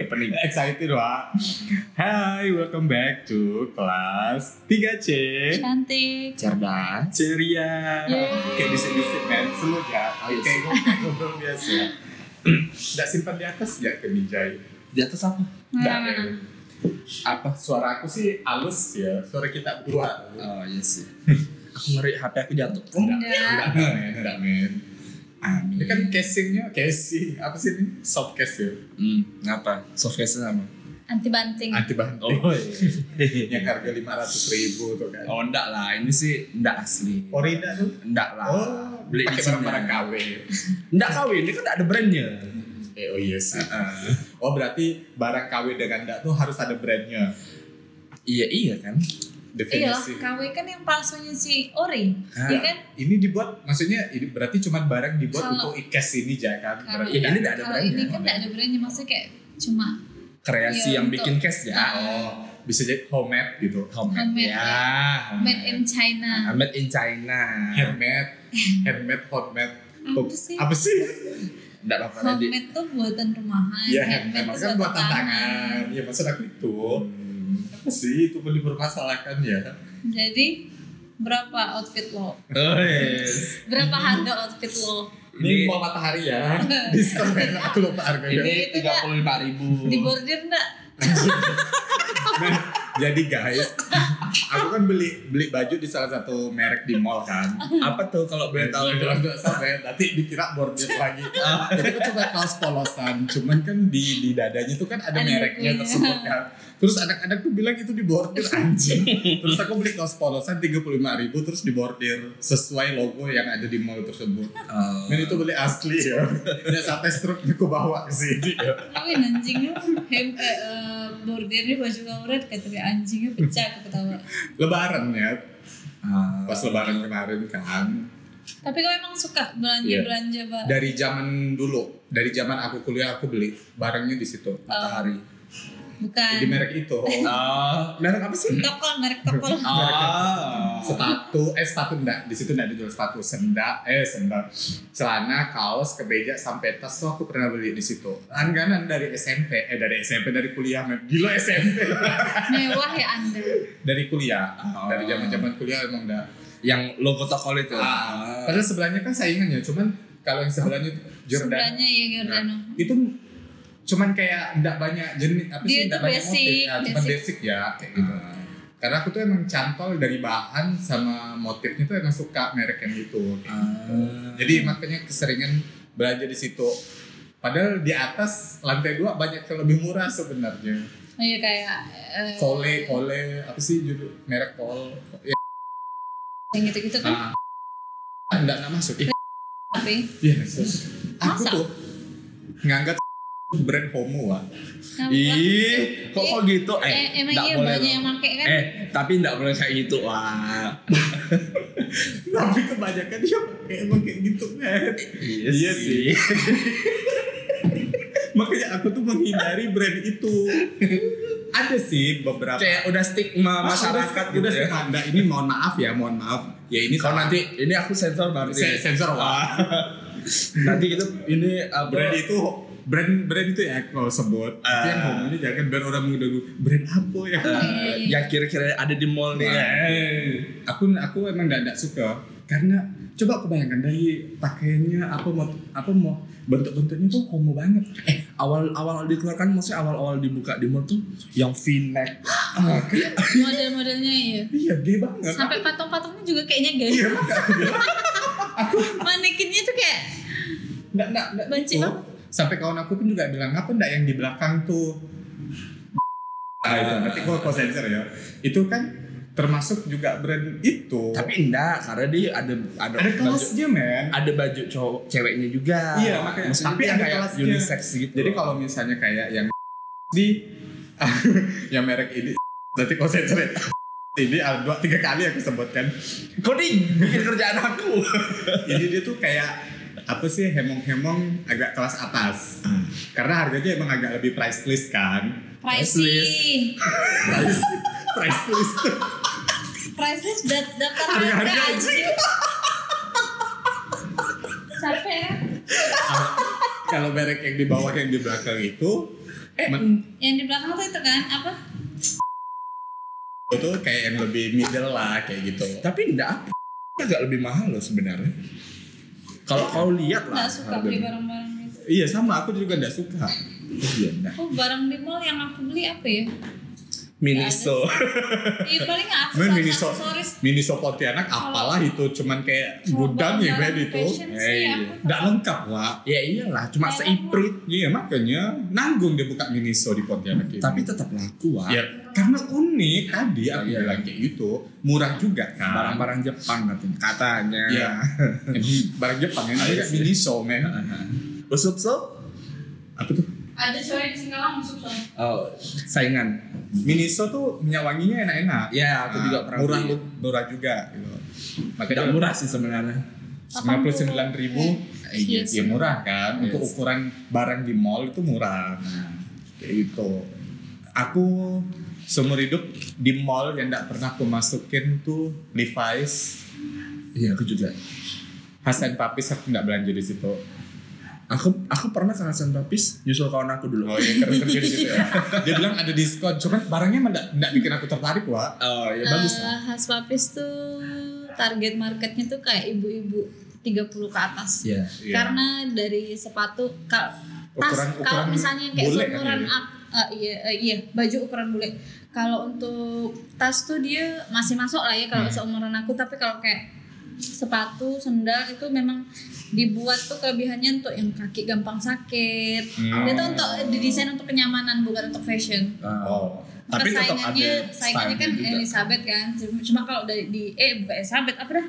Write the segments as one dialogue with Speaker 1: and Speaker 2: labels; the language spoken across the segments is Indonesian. Speaker 1: opening.
Speaker 2: Excited wah. Hai, welcome back to kelas 3C.
Speaker 3: Cantik.
Speaker 1: Cerdas.
Speaker 2: Ceria.
Speaker 3: Yeay.
Speaker 2: Kayak disip-disip men, slow ya.
Speaker 1: Oh, iya
Speaker 2: Kayak ngobrol biasa. Nggak simpan di atas ya ke
Speaker 3: Nah,
Speaker 2: Mijay.
Speaker 1: Di atas apa?
Speaker 2: Nggak
Speaker 3: Mana,
Speaker 2: ada.
Speaker 3: mana? nah.
Speaker 2: Apa suara aku sih halus ya? Suara kita berdua.
Speaker 1: Oh iya sih. aku ngeri HP aku jatuh.
Speaker 3: Enggak.
Speaker 2: Enggak men, enggak men.
Speaker 1: Amin.
Speaker 2: Ini kan casingnya, casing apa sih ini? Soft ya? casing,
Speaker 1: Hmm, ngapa? Soft case sama.
Speaker 3: Anti banting.
Speaker 2: anti banting. yang
Speaker 1: Oh, iya.
Speaker 2: harga lima ratus ribu tuh kan.
Speaker 1: oh enggak lah, ini sih enggak asli.
Speaker 2: Orida tuh.
Speaker 1: Enggak lah.
Speaker 2: Oh,
Speaker 1: Beli di
Speaker 2: pakai
Speaker 1: Cina.
Speaker 2: barang-barang KW.
Speaker 1: Enggak kawin, ini kan enggak ada brandnya.
Speaker 2: Eh, oh iya sih.
Speaker 1: Heeh.
Speaker 2: Oh berarti barang KW dengan enggak tuh harus ada brandnya.
Speaker 1: Iya iya kan.
Speaker 3: Iya,
Speaker 2: Definisi.
Speaker 3: KW kan yang palsunya si Ori,
Speaker 1: Hah?
Speaker 2: Nah,
Speaker 3: ya kan?
Speaker 2: ini dibuat maksudnya ini berarti cuma barang dibuat untuk
Speaker 3: Kalau-
Speaker 2: ikas ini aja kan.
Speaker 3: Kalau
Speaker 2: Berarti
Speaker 1: Iya, ini enggak ada
Speaker 3: Kalau
Speaker 1: brandnya.
Speaker 3: ini kan tidak ada brandnya, maksudnya kayak cuma
Speaker 1: Kreasi
Speaker 3: Iya,
Speaker 1: yang
Speaker 3: untuk-
Speaker 1: bikin case ya.
Speaker 2: oh bisa jadi homemade gitu. Ah,
Speaker 1: Homemade.
Speaker 3: Homemade,
Speaker 1: ya.
Speaker 3: made in China.
Speaker 1: Homemade in China.
Speaker 2: Handmade, handmade, homemade.
Speaker 3: Apa sih?
Speaker 2: Nah, Apa sih?
Speaker 1: Enggak apa-apa tadi.
Speaker 3: Homemade tuh buatan rumahan,
Speaker 2: Ya
Speaker 3: handmade
Speaker 2: handmade
Speaker 3: tuh
Speaker 2: kan buatan tangan. Ya maksud aku itu. Apa sih itu boleh dipermasalahkan ya?
Speaker 3: Jadi berapa outfit lo?
Speaker 1: Oh, yes.
Speaker 3: Berapa
Speaker 2: Hmm.
Speaker 3: harga outfit
Speaker 2: Oh.
Speaker 3: lo?
Speaker 2: Ini mau matahari ya. Diskon men, aku lupa harganya.
Speaker 1: Ini
Speaker 3: Itu
Speaker 1: tiga puluh lima ribu.
Speaker 3: Di bordir enggak?
Speaker 2: Nah, jadi guys, aku kan beli beli baju di salah satu merek di mall kan.
Speaker 1: Apa tuh kalau boleh tahu?
Speaker 2: Aduh, aduh, sampai ya? nanti dikira bordir lagi. Jadi aku cuma kaos polosan, cuman kan di di dadanya tuh kan ada
Speaker 3: Ada
Speaker 2: mereknya
Speaker 3: logonya.
Speaker 2: tersebut kan. Terus anak-anak tuh bilang itu di bordir anjing. Terus aku beli kaos polosan 35.000 terus di bordir sesuai logo yang ada di mall tersebut.
Speaker 1: Oh.
Speaker 2: Dan itu beli asli ya. Dan sampai struknya aku bawa ke sini ya.
Speaker 3: Tapi anjingnya hem eh, eh, bordirnya baju kauret kata dia anjingnya pecah aku ketawa.
Speaker 2: Lebaran ya,
Speaker 1: Ah.
Speaker 2: pas lebaran kemarin kan.
Speaker 3: Tapi kau emang suka belanja
Speaker 2: Iya.
Speaker 3: belanja mbak?
Speaker 2: dari zaman dulu dari zaman aku kuliah aku beli barangnya di situ
Speaker 1: Matahari.
Speaker 3: Bukan.
Speaker 2: di merek itu
Speaker 1: Ah, merek apa sih?
Speaker 3: Tokol merek tokol.
Speaker 1: Ah.
Speaker 2: sepatu eh sepatu enggak di situ enggak ada jual sepatu senda eh senda celana kaos kemeja sampai tas tuh aku pernah beli di situ langganan dari SMP eh dari SMP dari kuliah men. gila SMP
Speaker 3: Mewah ya anda.
Speaker 2: dari kuliah
Speaker 1: Oh.
Speaker 2: dari zaman zaman kuliah emang enggak
Speaker 1: Yang logo tokol itu.
Speaker 2: Ah.
Speaker 1: Ah.
Speaker 2: padahal sebelahnya kan saingan ya cuman kalau yang sebelahnya tuh Jordan
Speaker 3: Sebenarnya ya Giordano.
Speaker 2: itu cuman kayak enggak banyak jenis apa
Speaker 3: Dia
Speaker 2: sih enggak
Speaker 3: tuh
Speaker 2: banyak
Speaker 3: basic,
Speaker 2: motif ya, cuman
Speaker 3: basic.
Speaker 2: basic ya kayak gitu karena aku tuh emang cantol dari bahan sama motifnya tuh emang suka merek yang gitu
Speaker 1: Ah.
Speaker 2: jadi makanya keseringan belanja di situ padahal di atas lantai dua banyak yang lebih murah sebenarnya
Speaker 3: Oh iya kayak. eh,
Speaker 2: kole kole apa sih judul merek kol ya
Speaker 3: Yang gitu-gitu kan.
Speaker 2: ah. enggak enggak masuk Ih,
Speaker 3: Tapi.
Speaker 2: iya sus. aku
Speaker 3: Masa?
Speaker 2: tuh nganggap brand homo ah
Speaker 3: Kenapa?
Speaker 1: Ih, kok kok gitu?
Speaker 3: Nah, Eh,
Speaker 1: Eh,
Speaker 3: emang
Speaker 1: nggak
Speaker 3: iya
Speaker 1: boleh
Speaker 3: banyak
Speaker 1: loh.
Speaker 3: yang make kan?
Speaker 1: Eh, tapi enggak boleh kayak gitu. Wah.
Speaker 2: tapi kebanyakan dia pakai emang kayak gitu men
Speaker 1: Iya
Speaker 2: sih. makanya aku tuh menghindari brand itu ada sih beberapa
Speaker 1: Kayak udah stigma
Speaker 2: Ah,
Speaker 1: masyarakat
Speaker 2: udah,
Speaker 1: gitu
Speaker 2: udah
Speaker 1: ya.
Speaker 2: sih, Anda. ini mohon maaf ya mohon maaf ya ini
Speaker 1: Kalau
Speaker 2: salah.
Speaker 1: nanti ini aku sensor baru
Speaker 2: Se- sensor wah
Speaker 1: nanti itu ini uh, apa?
Speaker 2: brand itu brand brand itu ya kalau sebut tapi yang
Speaker 1: Ah. Ah.
Speaker 2: ngomongnya jangan brand orang muda dulu brand apa ya
Speaker 1: eh, yang kira-kira ada di mall nih.
Speaker 2: Eh, aku aku emang gak, gak suka karena coba kebayangkan dari pakaiannya apa mau apa mau bentuk-bentuknya tuh homo banget
Speaker 1: Eh, awal-awal dikeluarkan maksudnya awal-awal dibuka di mall tuh yang V-neck.
Speaker 2: Ah, kayak-
Speaker 3: Model-modelnya iya.
Speaker 2: iya gay banget
Speaker 3: Sampai patung-patungnya juga kayaknya gay.
Speaker 2: iya makanya aku bilang
Speaker 3: Manekinnya tuh kayak.
Speaker 2: nggak nggak nggak
Speaker 3: Benci
Speaker 2: gitu.
Speaker 3: banget.
Speaker 2: sampai kawan aku pun juga bilang apa ndak yang di belakang tuh ah, itu nanti gua gua sensor ya itu kan termasuk juga brand itu
Speaker 1: Tapi enggak karena dia ada ada
Speaker 2: ada
Speaker 1: baju,
Speaker 2: kelasnya men
Speaker 1: ada baju cowok ceweknya juga.
Speaker 2: Iya, makanya.
Speaker 1: Maksudnya
Speaker 2: Tapi
Speaker 1: dia
Speaker 2: ada
Speaker 1: kayak
Speaker 2: kelasnya.
Speaker 1: unisex gitu.
Speaker 2: jadi kalau misalnya kayak yang di yang merek ini nanti kau sensor ya ini ah, dua tiga kali aku sebutkan
Speaker 1: kok nih bikin kerjaan aku.
Speaker 2: ini dia tuh kayak apa sih hemong-hemong agak kelas atas
Speaker 1: Hmm.
Speaker 2: karena harganya emang agak lebih priceless kan
Speaker 3: Pricey.
Speaker 2: Price- priceless tuh
Speaker 3: Priceless dat daftar
Speaker 2: Harga-
Speaker 3: harga
Speaker 2: harga
Speaker 3: anjing. Capek ya? kan?
Speaker 2: kalau merek yang di bawah yang di belakang itu
Speaker 1: Eh,
Speaker 2: Men-
Speaker 3: Yang di belakang tuh itu kan apa?
Speaker 2: itu kayak yang lebih middle lah kayak gitu
Speaker 1: tapi enggak agak lebih mahal loh sebenarnya. Kalau kau lihat lah.
Speaker 3: Nggak suka beli
Speaker 1: harganya.
Speaker 3: barang-barang gitu. itu.
Speaker 2: iya sama aku juga nggak suka
Speaker 1: Iya, nah.
Speaker 3: Oh barang di mall yang aku beli apa ya?
Speaker 1: Miniso.
Speaker 3: Iya paling
Speaker 2: Men Miniso
Speaker 3: aksesoris-aksesoris.
Speaker 2: Miniso Pontianak apalah itu cuman kayak
Speaker 3: Kalau
Speaker 2: gudang ya
Speaker 3: barang-barang
Speaker 2: Ben itu
Speaker 3: fashion sih
Speaker 2: Eh, iya.
Speaker 3: aku
Speaker 2: nggak lengkap lah
Speaker 1: ya iyalah, cuma
Speaker 3: Enak.
Speaker 1: seiprit.
Speaker 2: iya makanya nanggung dia buka Miniso di Pontianak
Speaker 3: kan?
Speaker 2: ini
Speaker 1: Tapi tetap laku, Wak.
Speaker 2: ya karena unik tadi aku
Speaker 1: Iya.
Speaker 2: bilang kayak gitu murah juga kan
Speaker 1: Barang-barang Jepang katanya. Katanya.
Speaker 2: Iya. Emang barang Jepang yang ada
Speaker 1: Iya
Speaker 2: kayak
Speaker 1: sih.
Speaker 2: Miniso men
Speaker 1: Usut so?
Speaker 2: apa tuh
Speaker 3: Ada cewek di Singkalang masuk sono.
Speaker 1: Oh, saingan.
Speaker 2: Miniso tuh minyak wanginya enak-enak
Speaker 1: Ya, aku
Speaker 2: Nah,
Speaker 1: juga pernah
Speaker 2: murah
Speaker 1: beli.
Speaker 2: lu murah juga gitu
Speaker 1: Tidak
Speaker 2: makanya
Speaker 1: murah sih sebenarnya.
Speaker 2: sembilan puluh sembilan ribu iya
Speaker 3: Iya
Speaker 2: sih
Speaker 3: sih.
Speaker 2: murah kan untuk
Speaker 1: Yes.
Speaker 2: ukuran barang di mall itu murah nah, kayak gitu aku seumur hidup di mall yang tidak pernah aku masukin tuh Levi's
Speaker 1: Iya, aku juga.
Speaker 2: Hasan Papis aku nggak belanja di situ
Speaker 1: Aku aku pernah ke Hasan Papis nyusul kawan aku dulu.
Speaker 2: Oh iya kerja kerja di situ ya. Dia bilang ada diskon, cuman barangnya emang nggak nggak bikin aku tertarik wah.
Speaker 1: Oh, ya bagus
Speaker 3: Eh,
Speaker 1: lah.
Speaker 3: Has Papis tuh target marketnya tuh kayak ibu-ibu 30 ke atas.
Speaker 1: Iya.
Speaker 2: Iya.
Speaker 3: Karena dari sepatu ka- tas
Speaker 2: Ukuran- ukuran
Speaker 3: kalau misalnya kayak
Speaker 2: bule kan
Speaker 3: ukuran
Speaker 2: ya?
Speaker 3: ak- eh, iya eh, iya baju ukuran bule. Kalau untuk tas tuh dia masih masuk lah ya kalau
Speaker 2: Hmm.
Speaker 3: seumuran aku tapi kalau kayak sepatu, sendal itu memang dibuat tuh kelebihannya untuk yang kaki gampang sakit.
Speaker 2: Hmm.
Speaker 3: Dia tuh untuk didesain untuk kenyamanan bukan untuk fashion.
Speaker 1: Oh.
Speaker 2: Oh, tapi tetap ada
Speaker 3: saingannya saingannya kan
Speaker 2: style-nya juga.
Speaker 3: Elizabeth kan Cuma- cuma kalau dari di eh bukan Elizabeth apa dah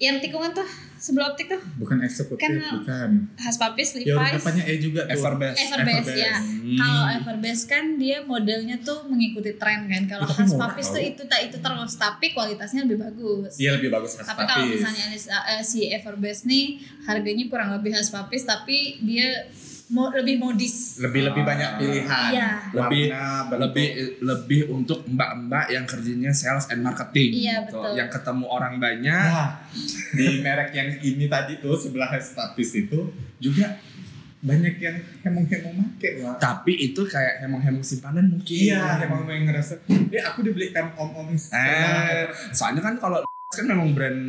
Speaker 3: yang tikungan tuh sebelah optik tuh
Speaker 2: Bukan eksekutif,
Speaker 3: Karena-
Speaker 2: bukan.
Speaker 3: khas papis
Speaker 2: Ya udah
Speaker 3: Levi's
Speaker 2: depannya E juga tuh.
Speaker 1: Everbest.
Speaker 3: Everbest ya
Speaker 1: Hmm.
Speaker 3: kalau Everbest kan dia modelnya tuh mengikuti tren kan kalau
Speaker 2: Itu kan
Speaker 3: khas
Speaker 2: murah
Speaker 3: papis
Speaker 2: tau.
Speaker 3: tuh itu tak itu terus tapi kualitasnya lebih bagus
Speaker 2: Iya lebih bagus Hasan
Speaker 3: tapi kalau
Speaker 2: Papis.
Speaker 3: misalnya Elis- eh, si Everbest nih harganya kurang lebih khas papis tapi dia mo- lebih modis
Speaker 2: Lebih lebih banyak pilihan.
Speaker 3: Iya.
Speaker 1: Lebih
Speaker 2: Warna, bentuk.
Speaker 1: lebih lebih untuk mbak-mbak yang kerjanya sales and marketing.
Speaker 3: Iya,
Speaker 1: gitu.
Speaker 3: betul.
Speaker 1: Yang ketemu orang banyak.
Speaker 2: Nah, di merek yang ini tadi tuh sebelah Hasan Papis itu juga banyak yang hemong-hemong make wah.
Speaker 1: Tapi itu kayak hemong-hemong simpanan mungkin.
Speaker 2: Iya, emang yang ngerasa, dia aku dibelikan om-om
Speaker 1: Eh,
Speaker 2: sebelah
Speaker 1: soalnya kan kalau kan memang brand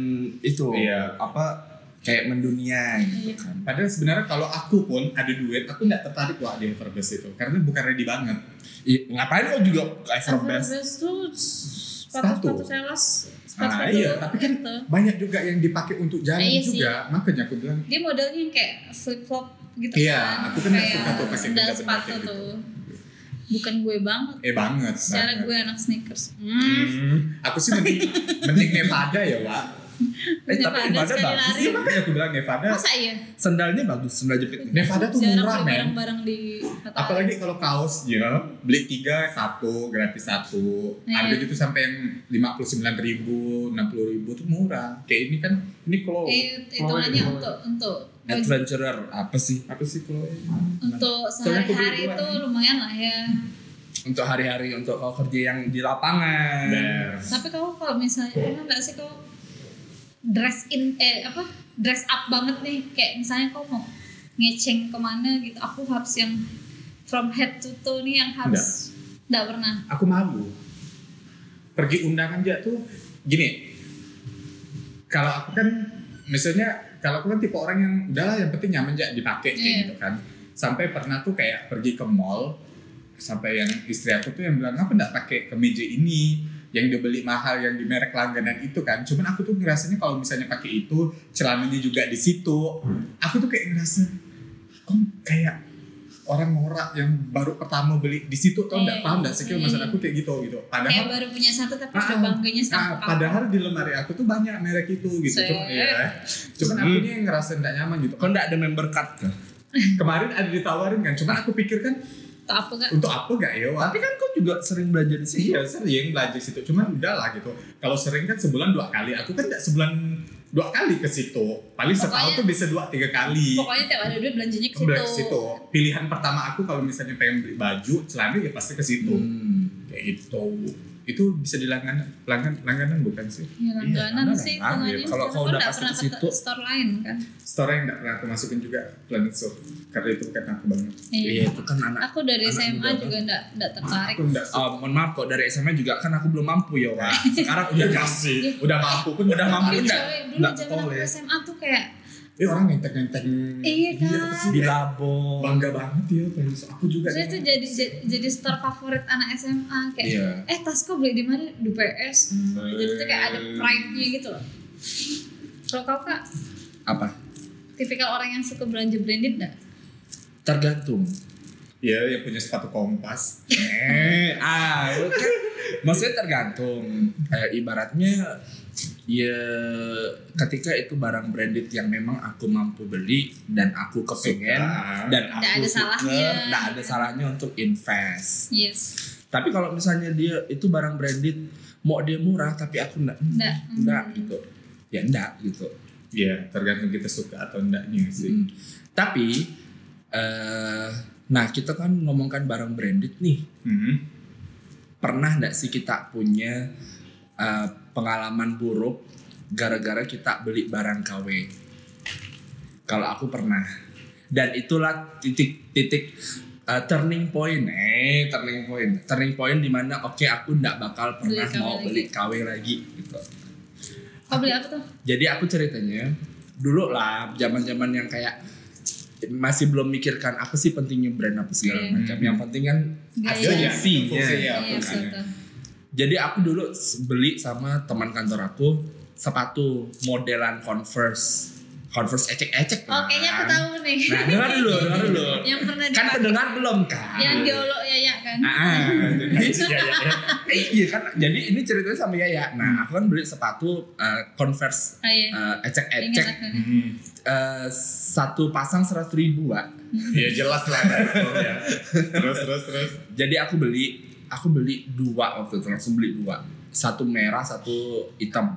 Speaker 1: itu
Speaker 2: Iya.
Speaker 1: apa kayak mendunia gitu kan.
Speaker 2: Padahal sebenarnya kalau aku pun ada duit, aku nggak tertarik wah di Everbest itu karena bukan ready banget.
Speaker 1: I- ngapain lo juga ke Everbest?
Speaker 3: Everbest tuh sepatu-sepatu sales,
Speaker 2: Ah,
Speaker 3: sepatu-sepatu
Speaker 2: iya, tapi kan
Speaker 3: gitu.
Speaker 2: banyak juga yang dipakai untuk jalan
Speaker 3: Iya sih.
Speaker 2: juga, makanya aku bilang
Speaker 3: dia modelnya yang kayak flip flop gitu
Speaker 2: Iya,
Speaker 3: kan.
Speaker 2: aku kan nggak
Speaker 3: Kayak
Speaker 2: suka tuh pasti
Speaker 3: sandal
Speaker 2: benda-benda
Speaker 3: sepatu
Speaker 2: kayak gitu.
Speaker 3: tuh. Bukan gue banget.
Speaker 2: eh banget.
Speaker 3: Secara
Speaker 2: banget.
Speaker 3: gue anak sneakers.
Speaker 2: Hmm, aku sih mending, mending Nevada ya, Wak.
Speaker 1: Eh, tapi
Speaker 3: Nevada
Speaker 1: Nevada
Speaker 3: sekali
Speaker 1: bagus.
Speaker 3: lari.
Speaker 2: Iya makanya aku bilang Nevada.
Speaker 3: Masa iya?
Speaker 1: Sendalnya bagus, sendal jepit.
Speaker 2: Nevada tuh
Speaker 3: Jarang
Speaker 2: murah,
Speaker 3: beli
Speaker 2: men.
Speaker 3: barang-barang di Hatta Ali.
Speaker 2: Apalagi kalau kaosnya beli tiga satu gratis satu,
Speaker 3: Iya.
Speaker 2: harga itu sampai yang lima puluh sembilan ribu, enam puluh ribu tuh murah. Kayak ini kan ini Chloe.
Speaker 3: Eh, hitungannya
Speaker 2: Chloe.
Speaker 3: untuk untuk
Speaker 1: Adventurer apa sih?
Speaker 2: apa sih Chloe?
Speaker 3: untuk
Speaker 2: Soalnya aku beli
Speaker 3: sehari-hari
Speaker 2: dua.
Speaker 3: itu lumayan lah ya.
Speaker 1: Untuk hari-hari untuk kau kerja yang di lapangan.
Speaker 2: Nah,
Speaker 3: Tapi kamu kalau misalnya pernah nggak sih kamu dress in eh apa dress up banget nih kayak misalnya kamu mau ngeceng kemana gitu aku harus yang from head to toe nih yang harus nggak pernah
Speaker 2: aku malu pergi undangan aja tuh gini kalau aku kan misalnya kalau aku kan tipe orang yang udahlah yang penting nyaman aja dipakai kayak
Speaker 3: Iya.
Speaker 2: gitu kan sampai pernah tuh kayak pergi ke mall sampai yang istri aku tuh yang bilang aku nggak pakai kemeja ini yang dibeli mahal yang di merek langganan itu kan cuman aku tuh ngerasanya kalau misalnya pakai itu celananya juga di situ aku tuh kayak ngerasa kok kayak orang norak yang baru pertama beli di situ tau nggak
Speaker 3: Iya,
Speaker 2: paham nggak sih
Speaker 3: iya.
Speaker 2: maksud aku kayak gitu gitu
Speaker 3: kayak
Speaker 2: padahal
Speaker 3: baru punya satu tapi
Speaker 2: Ah,
Speaker 3: udah bangganya
Speaker 2: ah,
Speaker 3: sama kamu.
Speaker 2: padahal di lemari aku tuh banyak merek itu gitu
Speaker 3: Set.
Speaker 2: cuman ya cuman
Speaker 1: Hmm.
Speaker 2: aku nih yang ngerasa nggak nyaman gitu
Speaker 1: Kau nggak ada member card kah?
Speaker 2: kemarin ada ditawarin kan cuman aku pikir kan
Speaker 3: atau apa nggak
Speaker 2: untuk apa gak ya Wak?
Speaker 1: Tapi kan kau juga sering belanja di sini.
Speaker 2: Iya sering belanja situ, cuman udah lah gitu. Kalau sering kan sebulan dua kali, aku kan nggak sebulan dua kali ke situ. Paling setahun
Speaker 3: Pokoknya-
Speaker 2: tuh bisa dua tiga kali.
Speaker 3: pokoknya tiap ada duit belanjanya ke
Speaker 2: Pokoknya ke
Speaker 3: situ
Speaker 2: situ.
Speaker 1: gitu.
Speaker 2: Pilihan pertama aku kalau misalnya pengen beli baju, celana ya pasti ke situ.
Speaker 1: Hmm.
Speaker 2: Kayak gitu. itu bisa di langganan langgan, langganan bukan sih
Speaker 3: Ya,
Speaker 1: Iya,
Speaker 3: langganan
Speaker 1: langganan,
Speaker 3: sih
Speaker 2: langganan.
Speaker 3: hitungannya.
Speaker 1: ya. Kalau- kalau
Speaker 3: Karena
Speaker 1: udah
Speaker 3: nggak
Speaker 1: pasti
Speaker 3: pernah
Speaker 1: ke
Speaker 3: ke
Speaker 1: situ.
Speaker 3: store lain kan.
Speaker 2: store yang nggak pernah aku masukin juga Planet Soul karena itu bukan aku banget
Speaker 1: Iya, itu kan anak
Speaker 3: Aku dari
Speaker 1: Anak
Speaker 3: SMA
Speaker 1: muda,
Speaker 3: juga nggak nggak tertarik.
Speaker 2: aku nggak
Speaker 1: Eh, mohon maaf kok dari SMA juga kan aku belum mampu ya Wak. Sekarang udah
Speaker 3: Iya.
Speaker 1: kasih.
Speaker 2: udah mampu pun
Speaker 1: Udah mampu
Speaker 3: Dulu
Speaker 1: enggak?
Speaker 3: cewek- dulu
Speaker 1: ya. Nggak
Speaker 3: zaman aku
Speaker 1: boleh.
Speaker 3: SMA tuh kayak
Speaker 2: eh orang nenteng nenteng
Speaker 3: Iya, kan?
Speaker 1: Di labo.
Speaker 2: bangga banget ya Planet Soul aku juga
Speaker 3: saya tuh jadi jadi store favorit anak SMA kayak
Speaker 2: iya
Speaker 3: eh tasku beli di mana di PS
Speaker 2: Hmm.
Speaker 3: jadi tuh kayak ada
Speaker 1: Eh.
Speaker 3: pride nya gitu loh kalau kau kak
Speaker 1: Apa?
Speaker 3: tipikal orang yang suka belanja branded nggak
Speaker 1: Tergantung.
Speaker 2: iya yang punya sepatu kompas
Speaker 1: Eh, ah, lu kan maksudnya tergantung. Kayak ibaratnya ya ketika itu barang branded yang memang aku mampu beli dan aku kepengen
Speaker 2: Suka.
Speaker 1: dan aku
Speaker 3: Nggak ada
Speaker 1: suka,
Speaker 3: salahnya.
Speaker 1: nggak ada salahnya untuk invest.
Speaker 3: yes
Speaker 1: Tapi kalau misalnya dia itu barang branded, mau dia murah tapi aku enggak
Speaker 3: Nggak.
Speaker 1: enggak
Speaker 3: Hmm.
Speaker 1: gitu. Ya enggak gitu.
Speaker 2: iya tergantung kita suka atau enggaknya sih
Speaker 1: Hmm. Tapi eh nah kita kan ngomongkan barang branded nih.
Speaker 2: Hmm.
Speaker 1: Pernah enggak sih kita punya eh, pengalaman buruk gara-gara kita beli barang KW? Kalau aku pernah. Dan itulah titik-titik eh, turning point, eh turning point, turning point dimana oke aku ndak bakal
Speaker 3: Beli
Speaker 1: pernah
Speaker 3: KW
Speaker 1: mau
Speaker 3: lagi.
Speaker 1: beli KW lagi gitu.
Speaker 3: kau beli apa tuh
Speaker 1: Jadi aku ceritanya dulu lah zaman-zaman yang kayak masih belum mikirkan apa sih pentingnya brand apa segala
Speaker 3: Iya.
Speaker 1: macam. Yang penting kan
Speaker 3: Gaya.
Speaker 2: Ada ya,
Speaker 1: Fungsinya.
Speaker 2: fungsinya,
Speaker 3: iya
Speaker 2: fungsinya.
Speaker 3: betul
Speaker 1: jadi aku dulu s- beli sama teman kantor aku sepatu modelan Converse. Converse ecek-ecek.
Speaker 3: oh kayaknya aku tahu nih
Speaker 1: Nah, dengar dulu, dengar dulu.
Speaker 3: yang pernah
Speaker 1: Kan
Speaker 3: dipakai
Speaker 1: pendengar belum kan?
Speaker 3: yang diolok ya ya kan
Speaker 1: Ah,
Speaker 2: Iya, iya,
Speaker 1: jadi
Speaker 2: iya.
Speaker 1: eh, iya kan jadi ini ceritanya sama Yaya. Nah, aku kan beli sepatu eh, Converse
Speaker 3: ah iya
Speaker 1: eh,
Speaker 3: ingat
Speaker 1: ecek-ecek
Speaker 3: aku nih
Speaker 2: Hmm.
Speaker 1: eh, satu pasang seratus ribu, Wak.
Speaker 2: ya jelas lah betul ya. terus terus terus
Speaker 1: Jadi aku beli, aku beli dua waktu itu langsung beli dua. Satu merah, satu hitam.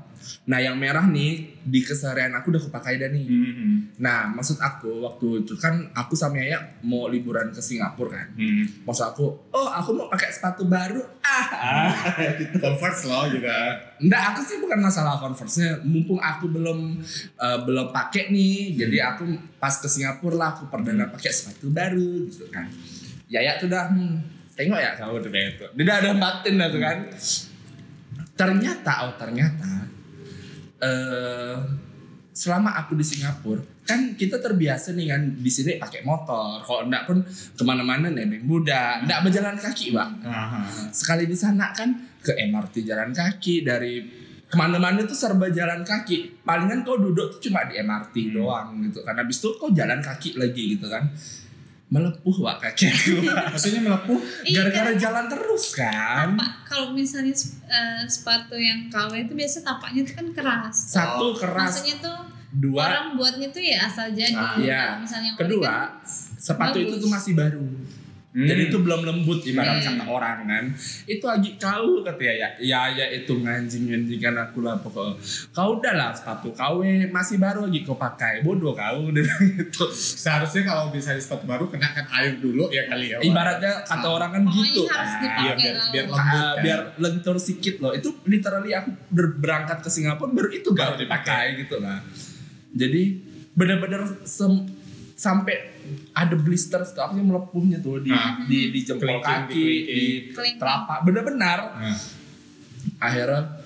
Speaker 1: Nah yang merah nih di keseharian aku udah kepakai dah nih.
Speaker 2: Hmm.
Speaker 1: Nah maksud aku waktu itu kan aku sama Yaya mau liburan ke Singapura kan.
Speaker 2: Hmm.
Speaker 1: Maksud aku, oh aku mau pakai sepatu baru. Ah,
Speaker 2: Converse loh gitu.
Speaker 1: enggak aku sih bukan masalah converse-nya. Mumpung aku belum eh, belum pakai nih, jadi aku pas ke Singapura lah aku perdana pakai sepatu baru gitu kan. Yaya tuh dah hmm, tengok ya kamu tuh kayak itu. Dia udah ada batin dah tuh kan. Ternyata oh ternyata eh selama aku di Singapura kan kita terbiasa nih kan di sini pakai motor kalau enggak pun kemana-mana nebeng budak enggak berjalan kaki pak
Speaker 2: Aha.
Speaker 1: sekali di sana kan ke MRT jalan kaki dari kemana-mana tuh serba jalan kaki palingan kau duduk tuh cuma di MRT
Speaker 2: Hmm.
Speaker 1: doang gitu kan habis itu kau jalan kaki lagi gitu kan melepuh wak kaki aku Wak.
Speaker 2: Maksudnya melepuh.
Speaker 3: Iya,
Speaker 1: gara-gara jalan terus kan
Speaker 3: Pak, kalau misalnya sep- eh, sepatu yang KW itu biasa tapaknya tuh kan keras.
Speaker 1: satu keras
Speaker 3: Oh, Maksudnya tuh
Speaker 1: dua
Speaker 3: orang buatnya tuh ya asal jadi.
Speaker 2: Ah,
Speaker 1: iya.
Speaker 3: Kalau misalnya yang
Speaker 1: kedua
Speaker 3: ori
Speaker 1: sepatu itu
Speaker 3: bagus.
Speaker 1: tuh masih baru
Speaker 2: Hmm.
Speaker 1: jadi itu belum lembut ibarat
Speaker 3: Hmm.
Speaker 1: kata orang kan itu lagi kau kata ya ya ya itu nganjing nganjingan aku lah pokoknya kau udah lah sepatu kau eh, masih baru lagi kau pakai bodoh kau Dia bilang gitu
Speaker 2: Seharusnya kalau bisa stok baru kenakan air dulu ya kali ya. Wak.
Speaker 1: ibaratnya kata orang kan
Speaker 3: Pokoknya
Speaker 1: gitu
Speaker 3: harus
Speaker 1: kan.
Speaker 3: dipakai.
Speaker 2: Iya biar biar
Speaker 1: Ah,
Speaker 2: lembut. kan.
Speaker 1: biar lentur sedikit loh itu literally aku ber- berangkat ke Singapura baru itu
Speaker 2: Baru
Speaker 1: gak dipakai gitu lah jadi benar-benar sem- sampai ada blister stoknya melepuhnya tuh di
Speaker 2: Ah.
Speaker 1: di, di jempol
Speaker 2: Kelingking,
Speaker 1: kaki
Speaker 2: di
Speaker 1: di,
Speaker 3: kelingking.
Speaker 1: telapak benar-benar
Speaker 2: Nah,
Speaker 1: akhirnya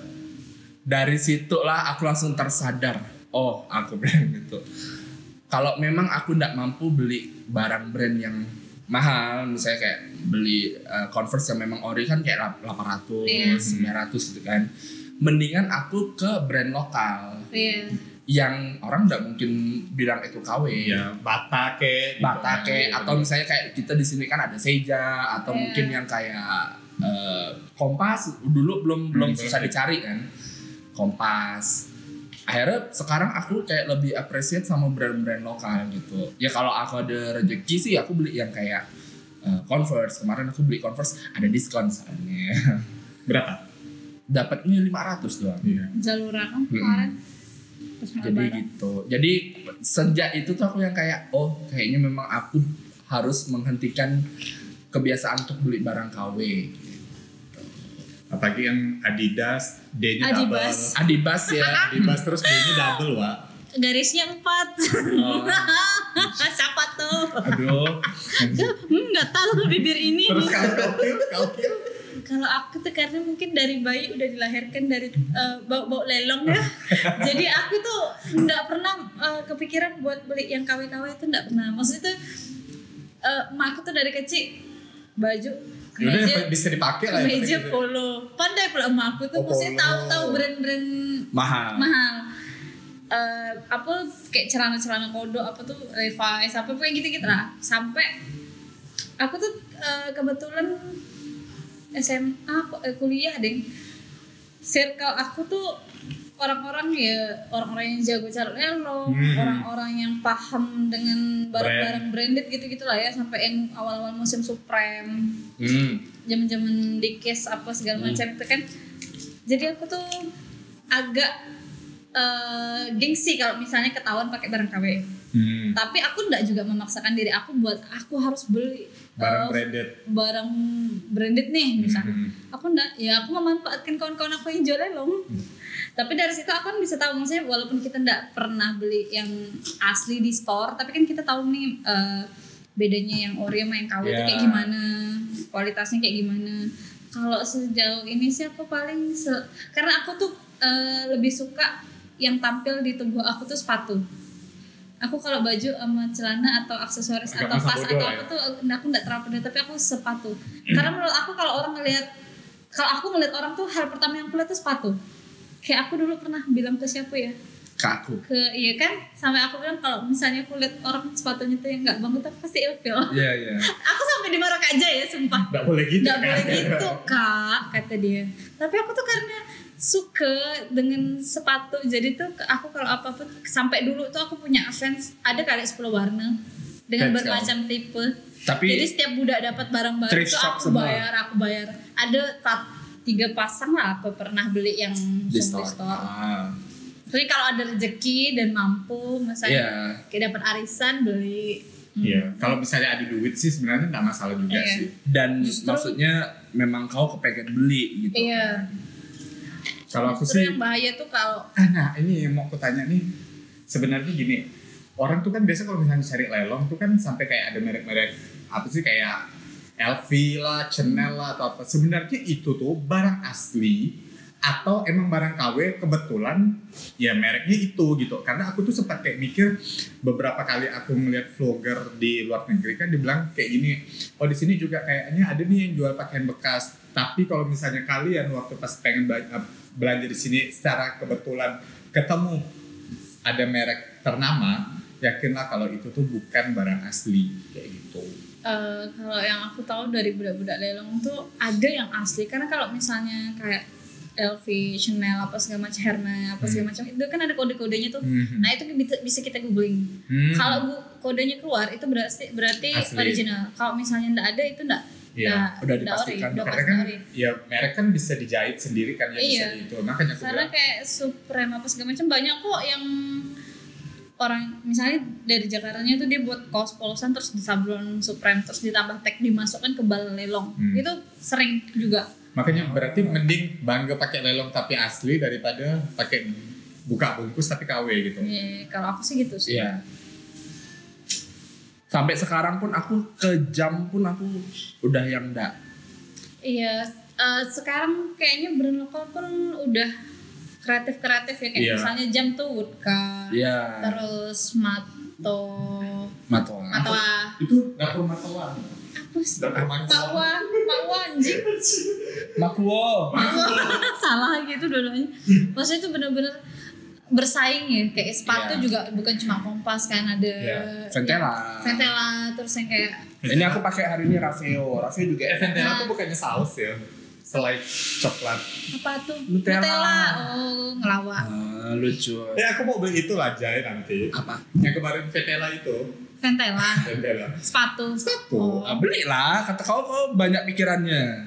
Speaker 1: dari situlah aku langsung tersadar oh aku brand gitu kalau memang aku tidak mampu beli barang brand yang mahal misalnya kayak beli eh, converse yang memang ori kan kayak lap- 800
Speaker 3: Iya.
Speaker 1: 900 gitu kan mendingan aku ke brand lokal
Speaker 3: Iya.
Speaker 1: yang orang nggak mungkin bilang itu KW
Speaker 2: Iya bata ke. gitu.
Speaker 1: Batake atau misalnya kayak kita di sini kan ada Seja atau
Speaker 3: Iya.
Speaker 1: mungkin yang kayak eh, Kompas dulu belum belum
Speaker 2: Hmm,
Speaker 1: susah
Speaker 2: iya.
Speaker 1: dicari kan Kompas akhirnya sekarang aku kayak lebih appreciate sama brand-brand lokal gitu ya kalau aku ada rezeki sih aku beli yang kayak eh, Converse kemarin aku beli Converse ada diskon soalnya
Speaker 2: berapa?
Speaker 1: dapatnya 500 doang
Speaker 2: Iya.
Speaker 3: Jalura kan
Speaker 1: Mm-mm.
Speaker 3: kemarin. Terus
Speaker 1: jadi gitu jadi sejak itu tuh aku yang kayak oh kayaknya memang aku harus menghentikan kebiasaan untuk beli barang KW
Speaker 2: apalagi yang Adidas D-nya
Speaker 3: Adibas.
Speaker 2: double
Speaker 1: Adibas ya.
Speaker 2: Adibas terus D-nya double wa
Speaker 3: garisnya empat
Speaker 1: Oh.
Speaker 3: siapa tuh
Speaker 2: aduh
Speaker 3: Hmm, nggak tahu tuh bibir ini
Speaker 2: terus kalau kalkil kalkil
Speaker 3: kalau aku tuh karena mungkin dari bayi udah dilahirkan dari eh, bau-bau lelong ya jadi aku tuh nggak pernah eh, kepikiran buat beli yang KW-KW itu nggak pernah maksudnya tuh eh, emak aku tuh dari kecil baju
Speaker 2: Yaudah
Speaker 3: kemeja
Speaker 2: bisa dipakai lah ya,
Speaker 3: kemeja
Speaker 2: pakai gitu.
Speaker 3: polo pandai pula emak aku tuh
Speaker 2: Oh,
Speaker 3: maksudnya
Speaker 2: polo.
Speaker 3: tahu-tahu brand-brand
Speaker 1: Mahal.
Speaker 3: mahal Eh, apa kayak celana-celana kodo apa tuh Levi's apa kayak gitu-gitu lah sampai aku tuh eh, kebetulan SMA apa, eh, kuliah deh circle aku tuh orang-orang ya orang-orang yang jago cari elong
Speaker 2: Hmm.
Speaker 3: orang-orang yang paham dengan barang-barang branded gitu-gitulah ya sampai yang awal-awal musim Supreme
Speaker 1: Hmm.
Speaker 3: zaman-zaman dikes apa segala macam itu kan jadi aku tuh agak eh, gengsi kalau misalnya ketahuan pakai barang KW
Speaker 2: Hmm,
Speaker 3: tapi aku nggak juga memaksakan diri aku buat aku harus beli
Speaker 2: barang
Speaker 3: eh,
Speaker 2: branded
Speaker 3: barang branded nih misalnya
Speaker 2: Hmm.
Speaker 3: aku nggak ya aku memanfaatkan kawan-kawan aku yang jual elong tapi dari situ aku kan bisa tahu maksudnya walaupun kita nggak pernah beli yang asli di store tapi kan kita tahu nih eh, bedanya yang ori sama yang KW itu
Speaker 2: Ya.
Speaker 3: kayak gimana kualitasnya kayak gimana kalau sejauh ini sih aku paling se- karena aku tuh eh, lebih suka yang tampil di tubuh aku tuh sepatu aku kalau baju sama celana atau aksesoris
Speaker 2: Agak
Speaker 3: atau
Speaker 2: masa
Speaker 3: tas
Speaker 2: bodoh
Speaker 3: atau
Speaker 2: lah
Speaker 3: apa
Speaker 2: ya.
Speaker 3: tuh aku nggak terlalu peduli tapi aku sepatu karena menurut aku kalau orang ngelihat kalau aku ngelihat orang tuh hal pertama yang aku lihat tuh sepatu kayak aku dulu pernah bilang ke siapa ya
Speaker 1: Ke aku.
Speaker 3: ke iya kan sampai aku bilang kalau misalnya aku lihat orang sepatunya tuh yang nggak banget aku pasti ilfil
Speaker 1: Iya, iya.
Speaker 3: aku sampai dimarah aja ya sumpah
Speaker 2: Gak boleh gitu
Speaker 3: nggak
Speaker 2: kan?
Speaker 3: boleh gitu kak kata dia tapi aku tuh karena suka dengan sepatu jadi tuh ke- aku kalau apa apa sampai dulu tuh aku punya fans ada kali 10 warna dengan
Speaker 2: Fans
Speaker 3: bermacam tipe
Speaker 1: oh. Tapi-
Speaker 3: jadi setiap budak dapat barang baru
Speaker 1: Thrift
Speaker 3: tuh
Speaker 1: shop
Speaker 3: aku
Speaker 1: semua.
Speaker 3: bayar aku bayar ada ta- tiga pasang lah apa pernah beli yang
Speaker 1: Di
Speaker 3: langsung
Speaker 1: store. Ah.
Speaker 3: jadi kalau ada rezeki dan mampu misalnya
Speaker 1: Iya.
Speaker 3: kayak dapat arisan beli
Speaker 2: Iya, kalau misalnya ada duit sih sebenarnya nggak masalah juga
Speaker 3: Iya.
Speaker 2: sih.
Speaker 1: Dan
Speaker 3: Justru-
Speaker 1: maksudnya memang kau kepengen beli gitu.
Speaker 3: iya
Speaker 2: Kalau aku
Speaker 3: Justru
Speaker 2: sih,
Speaker 3: yang bahaya tuh kalau
Speaker 2: ah, nah ini yang mau aku tanya nih, sebenarnya gini, orang tuh kan biasa kalau misalnya cari lelong tuh kan sampai kayak ada merek-merek apa sih kayak LV lah, Chanel lah atau apa. Sebenarnya itu tuh barang asli atau emang barang KW kebetulan ya mereknya itu gitu karena aku tuh sempat kayak mikir beberapa kali aku ngeliat vlogger di luar negeri kan dibilang kayak gini oh di sini juga kayaknya ada nih yang jual pakaian bekas tapi kalau misalnya kalian waktu pas pengen bela- eh, belanja di sini secara kebetulan ketemu ada merek ternama yakinlah kalau itu tuh bukan barang asli kayak gitu
Speaker 3: Eh, kalau yang aku tahu dari budak-budak lelong tuh ada yang asli karena kalau misalnya kayak LV, Chanel apa segala macam, Hermes apa
Speaker 2: Hmm.
Speaker 3: segala macam itu kan ada kode-kodenya tuh.
Speaker 2: Mhm.
Speaker 3: Nah itu bisa- bisa kita googling.
Speaker 2: Hmm.
Speaker 3: Kalau bu- kodenya keluar itu berarti berarti
Speaker 2: Asli.
Speaker 3: original. Kalau misalnya nggak ada itu nggak
Speaker 2: Iya,
Speaker 3: nggak-
Speaker 1: udah
Speaker 3: nggak
Speaker 1: dipastikan.
Speaker 3: ori, udah
Speaker 2: karena
Speaker 3: pasti
Speaker 2: kan
Speaker 3: ori.
Speaker 2: ya merek kan bisa dijahit sendiri kan ya
Speaker 3: Iya.
Speaker 2: bisa di itu makanya aku
Speaker 3: Karena
Speaker 2: bilang
Speaker 3: kayak Supreme apa segala macam banyak kok yang orang misalnya dari Jakartanya tuh dia buat kaos polosan terus disablon Supreme terus ditambah tag dimasukkan ke bal lelong.
Speaker 2: Hmm.
Speaker 3: Itu sering juga.
Speaker 2: Makanya berarti mending bangga pakai lelong tapi asli daripada pakai buka bungkus tapi KW gitu.
Speaker 3: Iya, kalau aku sih gitu sih.
Speaker 1: Iya. Sampai sekarang pun aku ke jam pun aku udah yang enggak.
Speaker 3: Iya, eh, sekarang kayaknya brand lokal pun udah kreatif-kreatif ya kayak
Speaker 2: Iya.
Speaker 3: misalnya jam tuh Woodka,
Speaker 1: Iya.
Speaker 3: terus Mato,
Speaker 1: Matoa.
Speaker 3: Matoa,
Speaker 2: Itu dapur matoa.
Speaker 3: apa sih?
Speaker 2: Dapur matoa.
Speaker 3: Pakwa, Pakwa anjing.
Speaker 1: Makuo.
Speaker 3: salah gitu dua-duanya maksudnya itu bener-bener bersaing ya kayak sepatu
Speaker 1: Iya.
Speaker 3: juga bukan cuma kompas kan ada
Speaker 2: Iya.
Speaker 1: Ventela.
Speaker 3: Ventela, terus yang kayak
Speaker 1: Ini aku pakai hari ini Raveo. Raveo juga
Speaker 2: Eh,
Speaker 1: enak.
Speaker 3: Nah.
Speaker 2: Ventela tuh bukannya saus ya. Selain coklat.
Speaker 3: apa tuh
Speaker 1: Nutella.
Speaker 3: oh ngelawak
Speaker 1: Ah, lucu.
Speaker 2: Eh aku mau beli itu lah jahit nanti.
Speaker 1: Apa?
Speaker 2: Yang kemarin Ventela itu.
Speaker 3: Ventela
Speaker 2: Ventela.
Speaker 3: sepatu
Speaker 2: Sepatu.
Speaker 3: Oh.
Speaker 1: Ah, belilah. Kata kau kau banyak pikirannya.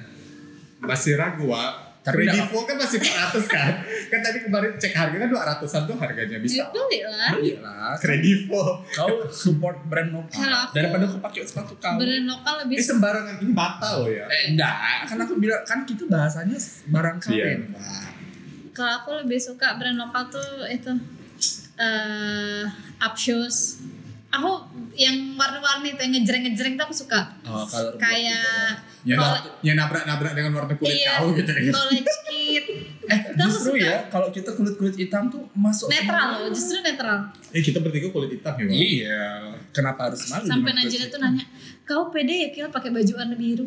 Speaker 2: Masih ragu wa.
Speaker 1: Tapi
Speaker 2: Ready
Speaker 1: nggak-
Speaker 2: for kan masih 400 kan? kan tadi kemarin cek harga kan 200-an tuh harganya
Speaker 3: Ya
Speaker 2: bisa.
Speaker 3: beli lah.
Speaker 1: Iya lah.
Speaker 2: Ready for.
Speaker 1: Kau support brand lokal
Speaker 3: Salah aku.
Speaker 1: daripada aku pakai sepatu kau.
Speaker 3: Brand lokal
Speaker 2: Ini
Speaker 3: lebih
Speaker 2: sembarangan ini bata loh ya.
Speaker 1: Eh, enggak, kan aku bilang kan kita bahasanya barang ya.
Speaker 2: Iya.
Speaker 1: kalian. Pak.
Speaker 3: kalau aku lebih suka brand lokal tuh itu eh up shoes. Aku yang warna-warni tuh yang ngejreng-ngejreng tuh aku suka.
Speaker 1: Oh, kalau-
Speaker 3: Kayak
Speaker 2: Ya,
Speaker 3: Kalau-
Speaker 2: nab- ya nabrak-nabrak dengan warna kulit
Speaker 3: iya,
Speaker 2: kau gitu ya.
Speaker 3: college kit.
Speaker 1: Eh,
Speaker 3: Tahu
Speaker 1: justru
Speaker 3: suka.
Speaker 1: ya kalau kita kulit-kulit hitam tuh masuk
Speaker 3: netral
Speaker 1: semua.
Speaker 3: loh, justru netral.
Speaker 2: Eh kita bertiga kulit hitam ya. Bang?
Speaker 1: Iya, kenapa harus malu?
Speaker 3: Sampai
Speaker 1: dengan
Speaker 3: Najila
Speaker 1: kulit
Speaker 3: tuh
Speaker 1: hitam?
Speaker 3: nanya, "Kau pede ya Kil pakai baju warna biru?"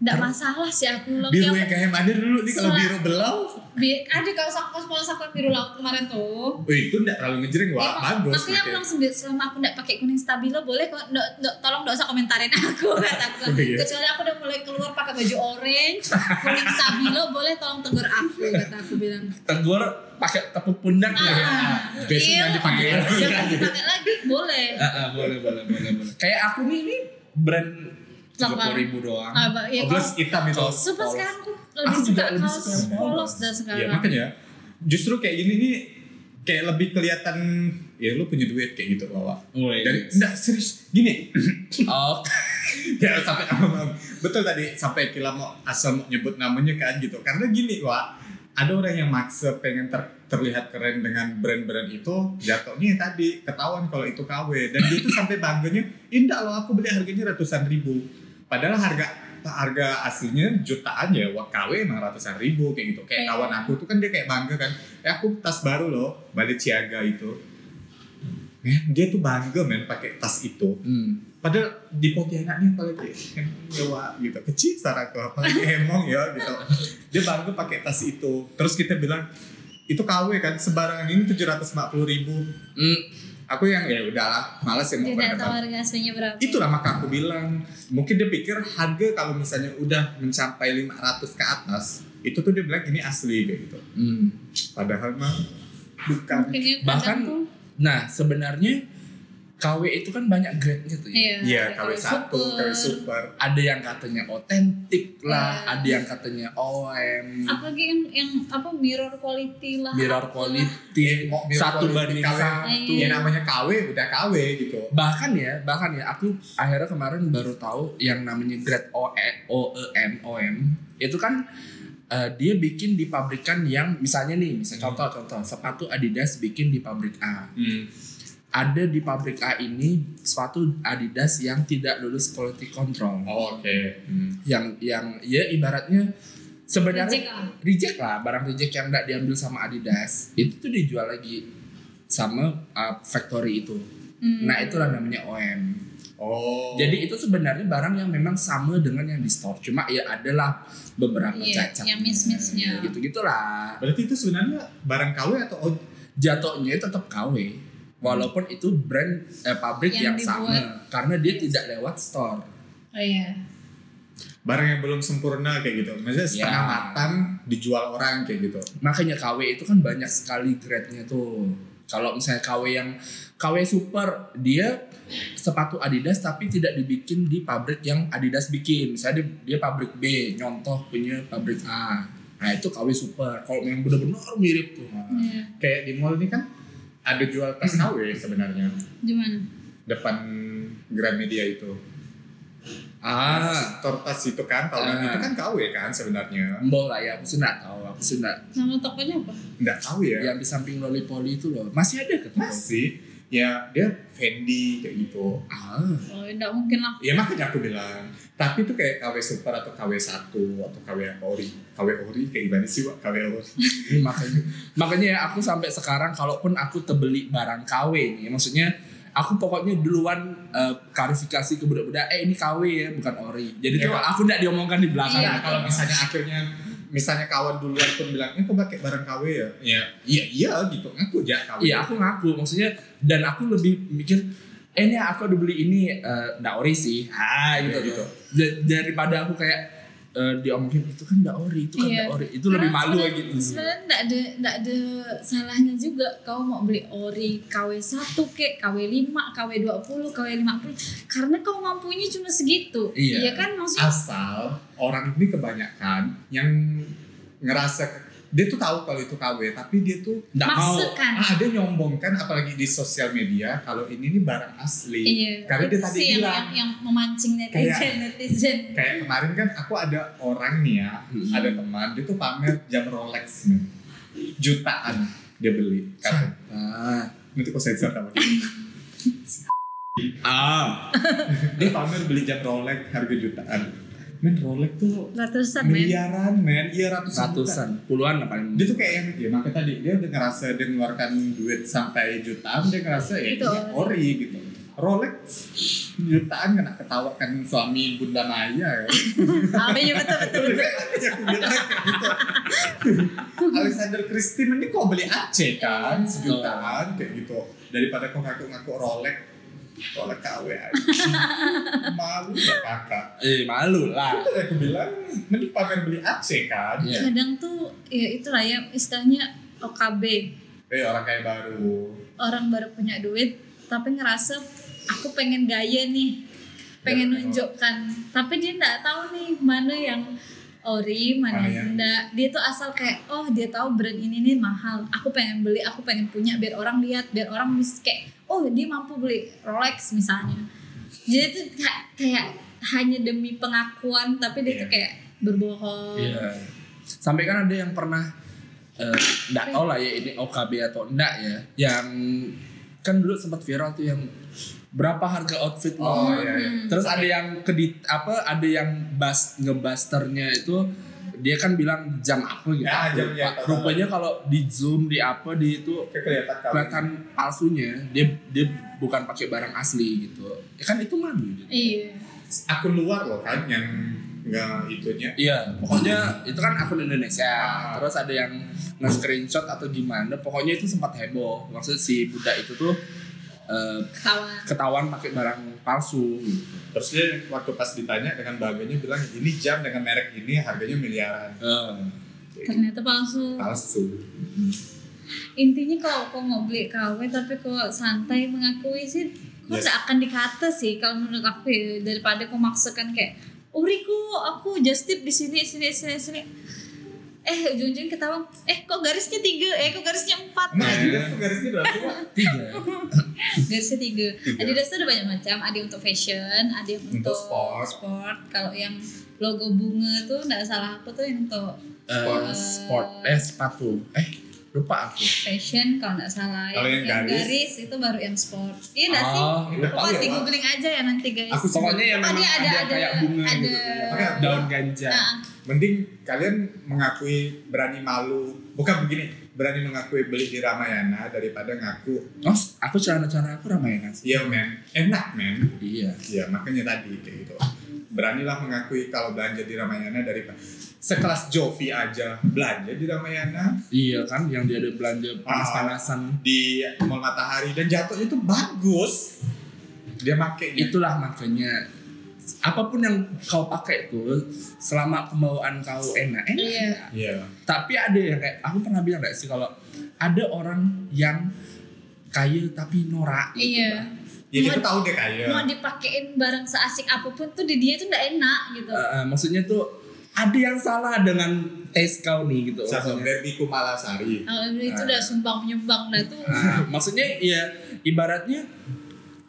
Speaker 3: Nggak masalah sih aku loh.
Speaker 2: Biru ya?
Speaker 3: Yang-
Speaker 2: yang kayak mandir dulu nih kalau
Speaker 3: Selah-
Speaker 2: biru belau.
Speaker 3: Bi- ada kalau sak- pas polos aku yang biru laut kemarin tuh.
Speaker 2: Wih Oh, itu enggak terlalu ngejreng
Speaker 3: Ya,
Speaker 2: wah
Speaker 3: mak-
Speaker 2: bagus.
Speaker 3: Maksudnya aku
Speaker 2: pakai.
Speaker 3: langsung bilang selama aku nggak pakai kuning stabilo boleh kok. Nggak- nggak- tolong nggak usah komentarin aku kata aku.
Speaker 2: Iya.
Speaker 3: Kecuali aku udah mulai keluar pakai baju orange, kuning stabilo boleh tolong tegur aku kata aku bilang.
Speaker 1: tegur pakai tepuk pundak
Speaker 3: Ah,
Speaker 1: ya.
Speaker 3: ah,
Speaker 2: Iya. Besok
Speaker 3: iya,
Speaker 2: kan dipakai lagi.
Speaker 3: jangan dipakai lagi boleh.
Speaker 1: Ah, ah, boleh, boleh, boleh, boleh. Kayak aku nih ini brand tiga
Speaker 3: Lokal.
Speaker 1: ribu doang.
Speaker 3: Ah, ba- iya,
Speaker 2: Oh,
Speaker 3: kalau-
Speaker 2: plus hitam itu.
Speaker 1: Kalau-
Speaker 3: Sumpah
Speaker 1: polos.
Speaker 3: sekarang aku lebih
Speaker 1: Aku
Speaker 3: suka
Speaker 1: juga lebih
Speaker 3: kaos
Speaker 1: suka yang polos. Iya,
Speaker 3: polos dan sekarang.
Speaker 2: Ya makanya justru kayak gini nih kayak lebih kelihatan ya lu punya duit kayak gitu bawa.
Speaker 1: Oh, iya.
Speaker 2: Dari enggak serius gini
Speaker 1: Oh,
Speaker 2: ya sampai betul tadi sampai kila mau asal mau nyebut namanya kan gitu karena gini wa ada orang yang maksa pengen ter- terlihat keren dengan brand-brand itu jatuhnya tadi ketahuan kalau itu KW dan dia tuh sampai bangganya indah loh aku beli harganya ratusan ribu padahal harga harga aslinya jutaan ya wah KW emang ratusan ribu kayak gitu kayak
Speaker 3: Eh.
Speaker 2: kawan aku tuh kan dia kayak bangga kan eh aku tas baru loh Balenciaga itu Eh, dia tuh bangga men pakai tas itu
Speaker 1: hmm.
Speaker 2: Padahal di Pontianak nih apalagi hemong dewa gitu kecil secara ke apalagi hemong ya gitu. Dia baru pakai tas itu. Terus kita bilang itu KW kan sembarangan ini 750 ribu.
Speaker 1: Hmm.
Speaker 2: Aku yang ya udahlah malas yang mau
Speaker 3: Tidak tahu
Speaker 2: berdebat.
Speaker 3: harga aslinya berapa.
Speaker 2: Itulah maka aku bilang mungkin dia pikir harga kalau misalnya udah mencapai 500 ke atas itu tuh dia bilang ini asli kayak gitu.
Speaker 1: hmm.
Speaker 2: Padahal mah bukan.
Speaker 3: Mungkin ya, kadang
Speaker 1: Bahkan-
Speaker 3: tuh,
Speaker 1: Nah, sebenarnya KW itu kan banyak grade-nya tuh ya.
Speaker 3: iya,
Speaker 2: Iya KW
Speaker 3: kalau
Speaker 2: satu, KW super.
Speaker 1: Ada yang katanya otentik
Speaker 3: Iya.
Speaker 1: lah, ada yang katanya OM,
Speaker 3: Apalagi yang, yang apa mirror quality lah.
Speaker 1: mirror
Speaker 3: apalah.
Speaker 1: Iya, quality,
Speaker 2: Mau biar
Speaker 1: satu
Speaker 2: kalau
Speaker 1: banding
Speaker 2: KW,
Speaker 1: satu.
Speaker 3: Iya.
Speaker 2: Ya namanya KW udah KW gitu.
Speaker 1: bahkan ya bahkan ya aku akhirnya kemarin baru tahu yang namanya grade O E O E M O M itu kan eh, dia bikin di pabrikan yang misalnya nih misal contoh contoh sepatu Adidas bikin di pabrik A
Speaker 2: Hmm.
Speaker 1: ada di pabrik A ini sepatu Adidas yang tidak lulus quality control
Speaker 2: Oh, Oke. Hmm.
Speaker 1: yang yang ya ibaratnya sebenarnya
Speaker 3: Reject lah.
Speaker 1: reject lah barang reject yang nggak diambil sama Adidas itu tuh dijual lagi sama eh, factory itu
Speaker 3: Hmm.
Speaker 1: nah itulah namanya OM
Speaker 2: Oh.
Speaker 1: Jadi itu sebenarnya barang yang memang sama dengan yang di store, cuma ya adalah beberapa
Speaker 3: Iya,
Speaker 1: cacat.
Speaker 3: yang miss-missnya.
Speaker 1: Gitu gitulah.
Speaker 2: berarti itu sebenarnya barang KW atau od-
Speaker 1: Jatuhnya tetap KW, walaupun itu brand eh, pabrik yang,
Speaker 3: Yang
Speaker 1: sama,
Speaker 3: dibuat.
Speaker 1: karena dia tidak lewat store.
Speaker 3: Oh iya.
Speaker 2: barang yang belum sempurna kayak gitu. Maksudnya setengah
Speaker 1: Ya.
Speaker 2: matang dijual orang kayak gitu.
Speaker 1: Makanya KW itu kan banyak sekali grade-nya tuh. Kalau misalnya KW yang KW super dia sepatu Adidas tapi tidak dibikin di pabrik yang Adidas bikin. Misalnya dia, dia pabrik B nyontoh punya pabrik A. Nah itu KW super. Kalau yang benar-benar mirip tuh.
Speaker 3: Iya.
Speaker 2: Hmm. Kayak di mall ini kan ada jual tas KW sebenarnya
Speaker 3: Gimana?
Speaker 2: depan Gramedia itu.
Speaker 1: Ah,
Speaker 2: Store tas itu kan tahunan
Speaker 1: Ah.
Speaker 2: itu kan KW kan sebenarnya.
Speaker 1: Mbok lah ya, aku sih nggak tahu, aku sih nggak.
Speaker 3: Nama tokonya apa?
Speaker 2: Enggak tahu ya.
Speaker 1: Yang di samping Lollipoli itu loh, masih ada ketemu.
Speaker 2: Masih ya dia Fendi kayak gitu.
Speaker 1: Ah,
Speaker 3: Oh, enggak mungkin lah.
Speaker 2: Ya makanya aku bilang. Tapi itu kayak KW Super atau KW 1 atau KW Ori. KW Ori kayak gimana sih Wak? KW Ori.
Speaker 1: ini makanya, makanya ya aku sampai sekarang, kalaupun aku terbeli barang KW nih, maksudnya aku pokoknya duluan eh, klarifikasi ke budak-budak, eh ini KW ya, bukan ori. Jadi
Speaker 2: Iya.
Speaker 1: tuh aku nggak diomongkan di belakang. gitu.
Speaker 3: Iya.
Speaker 2: Nah kalau misalnya akhirnya misalnya kawan duluan pun bilang, eh kok pakai barang KW ya? Iya, iya, iya gitu. Aku aja KW.
Speaker 1: Iya, aku ngaku, maksudnya, dan aku lebih mikir, eh ini aku udah beli ini, eh, nggak ori sih. Ah,
Speaker 2: Iya,
Speaker 1: gitu,
Speaker 2: gitu.
Speaker 1: gitu. Da- Daripada aku kayak eh, diomongin itu kan nggak ori, itu kan
Speaker 3: Iya.
Speaker 1: nggak ori, itu lebih
Speaker 3: Karena
Speaker 1: malu
Speaker 3: sebenarnya-
Speaker 1: gitu.
Speaker 3: Sebenarnya enggak ada enggak ada salahnya juga kau mau beli ori KW1 kek, KW5, KW20, KW50 karena kau mampunya cuma segitu.
Speaker 1: Iya.
Speaker 3: kan maksudnya
Speaker 2: Asal orang ini kebanyakan yang ngerasa dia tuh tahu kalau itu KW tapi dia tuh
Speaker 1: Nggak mau.
Speaker 3: Maksud kan?
Speaker 2: ah, dia nyombongkan apalagi di sosial media kalau ini nih barang asli
Speaker 3: Iya.
Speaker 2: karena dia
Speaker 3: itu
Speaker 2: tadi
Speaker 3: sih yang,
Speaker 2: bilang
Speaker 3: yang, yang memancing netizen
Speaker 2: Kayak-
Speaker 3: netizen.
Speaker 2: kayak kemarin kan aku ada orang nih ya
Speaker 1: Hmm.
Speaker 2: ada teman dia tuh pamer jam Rolex nih jutaan dia beli kata
Speaker 1: Nah,
Speaker 2: ah, nanti kok sensor sama dia
Speaker 1: Ah,
Speaker 2: dia pamer beli jam Rolex harga jutaan men Rolex tuh
Speaker 3: Ratusan men.
Speaker 2: miliaran men iya ratusan, juta.
Speaker 1: ratusan, puluhan lah paling.
Speaker 2: dia tuh kayak yang ya makanya tadi dia udah ngerasa dia mengeluarkan duit sampai jutaan dia ngerasa ya
Speaker 3: Itu
Speaker 2: ini ori gitu Rolex jutaan kena ketawakan suami Bunda Maya ya.
Speaker 3: Amin ya betul betul.
Speaker 2: Bener kan? Yang aku bilang kayak gitu. Alexander Christie ini kok beli AC kan sejutaan kayak gitu daripada kok ngaku-ngaku Rolex Rolex KW aja. malu ya kakak
Speaker 1: Eh, malu lah.
Speaker 2: itu yang aku bilang mending pamer beli AC kan
Speaker 1: Iya.
Speaker 3: Kadang tuh ya itulah ya istilahnya OKB
Speaker 2: eh orang kayak baru
Speaker 3: orang baru punya duit tapi ngerasa aku pengen gaya nih pengen
Speaker 2: Ya,
Speaker 3: nunjukkan tapi dia nggak tahu nih mana yang ori
Speaker 2: Mana
Speaker 3: mana yang
Speaker 2: yang-
Speaker 3: enggak dia tuh asal kayak oh dia tahu brand ini nih mahal aku pengen beli aku pengen punya biar orang lihat biar orang bisa kayak oh dia mampu beli Rolex misalnya jadi tuh kayak, kayak hanya demi pengakuan tapi dia tuh
Speaker 2: Iya.
Speaker 3: kayak berbohong
Speaker 1: Iya. Sampai kan ada yang pernah eh, nggak tahu lah ya ini OKB atau enggak ya. Yang kan dulu sempat viral tuh yang berapa harga outfit lo.
Speaker 2: Oh, iya, iya.
Speaker 3: Hmm.
Speaker 1: Terus ada yang kedit apa ada yang bas ngebusternya itu dia kan bilang jam apa gitu.
Speaker 2: Ya, jam
Speaker 1: Lupa.
Speaker 2: yang-
Speaker 1: Rupanya kalau di zoom di apa di itu
Speaker 2: Kayak kelihatan kali.
Speaker 1: kelihatan palsunya dia dia bukan pakai barang asli gitu. Ya kan itu malu. gitu.
Speaker 3: iya
Speaker 2: akun luar loh kan yang nggak itunya
Speaker 1: Iya, pokoknya itu kan akun Indonesia.
Speaker 2: Ah.
Speaker 1: Terus ada yang nge-screenshot atau gimana, pokoknya itu sempat heboh. Maksud si budak itu tuh eh,
Speaker 3: ketawa
Speaker 1: ketahuan pakai barang palsu. gitu.
Speaker 2: terus dia waktu pas ditanya dengan bangganya bilang ini jam dengan merek ini harganya miliaran
Speaker 1: Eh,
Speaker 3: ternyata palsu
Speaker 2: palsu
Speaker 3: intinya kalau kau mau beli KW tapi kok santai mengakui sih kau
Speaker 2: Yes.
Speaker 3: tidak akan dikata sih kalau menurut aku ya, daripada kau maksakan kayak uriku aku just tip di sini sini sini sini eh ujung-ujung ketahuan eh kok garisnya tiga eh kok garisnya empat Nah,
Speaker 2: nah Adidas tuh garisnya berapa sih, Wak?
Speaker 1: Tiga.
Speaker 3: garisnya tiga
Speaker 2: Tiga.
Speaker 3: Adidas tuh ada banyak macam ada yang untuk fashion ada yang
Speaker 2: Untuk
Speaker 3: untuk
Speaker 2: sport.
Speaker 3: sport. kalau yang logo bunga tuh nggak salah aku tuh yang untuk
Speaker 1: sport, sport eh sepatu eh lupa aku
Speaker 3: fashion kalau nggak salah
Speaker 2: Kalau yang garis.
Speaker 3: itu baru yang sport iya nggak sih
Speaker 1: Oh,
Speaker 2: Nggak tahu
Speaker 3: Pokoknya
Speaker 2: ya,
Speaker 3: di
Speaker 2: Wak.
Speaker 3: googling aja ya nanti guys.
Speaker 2: Aku
Speaker 1: pokoknya yang
Speaker 3: Tadi
Speaker 1: memang ada,
Speaker 3: ada- ada-
Speaker 1: kayak bunga
Speaker 3: ada-
Speaker 1: gitu
Speaker 2: Pakai
Speaker 1: daun ganja
Speaker 3: Nah,
Speaker 2: mending kalian mengakui berani malu bukan begini berani mengakui beli di Ramayana daripada ngaku
Speaker 1: oh aku cara-cara aku Ramayana sih
Speaker 2: iya men enak men
Speaker 1: iya
Speaker 2: iya makanya tadi kayak gitu beranilah mengakui kalau belanja di Ramayana daripada sekelas Jovi aja belanja di Ramayana
Speaker 1: iya kan yang dia ada belanja panas-panasan
Speaker 2: di Mall Matahari dan jatuhnya itu bagus. Dia make
Speaker 3: Iya.
Speaker 2: gitu.
Speaker 1: itulah makanya apapun yang kau pakai tuh selama pembawaan kau enak enak ya.
Speaker 3: Iya.
Speaker 2: Iya.
Speaker 1: tapi ada yang kayak aku pernah bilang gak sih kalau ada orang yang kaya tapi norak gitu,
Speaker 3: Iya.
Speaker 1: Bah.
Speaker 2: Ya kita tahu dia
Speaker 1: Iya.
Speaker 2: kaya.
Speaker 3: Mau dipakein barang seasik apapun tuh di dia tuh nggak enak gitu.
Speaker 1: Eh, eh, maksudnya tuh ada yang salah dengan taste kau nih gitu
Speaker 2: Sosok
Speaker 1: maksudnya.
Speaker 2: Berbi Kumalasari.
Speaker 3: Nah,
Speaker 1: Iya.
Speaker 3: itu udah sumbang menyumbang dah tuh.
Speaker 1: Nah, maksudnya ya ibaratnya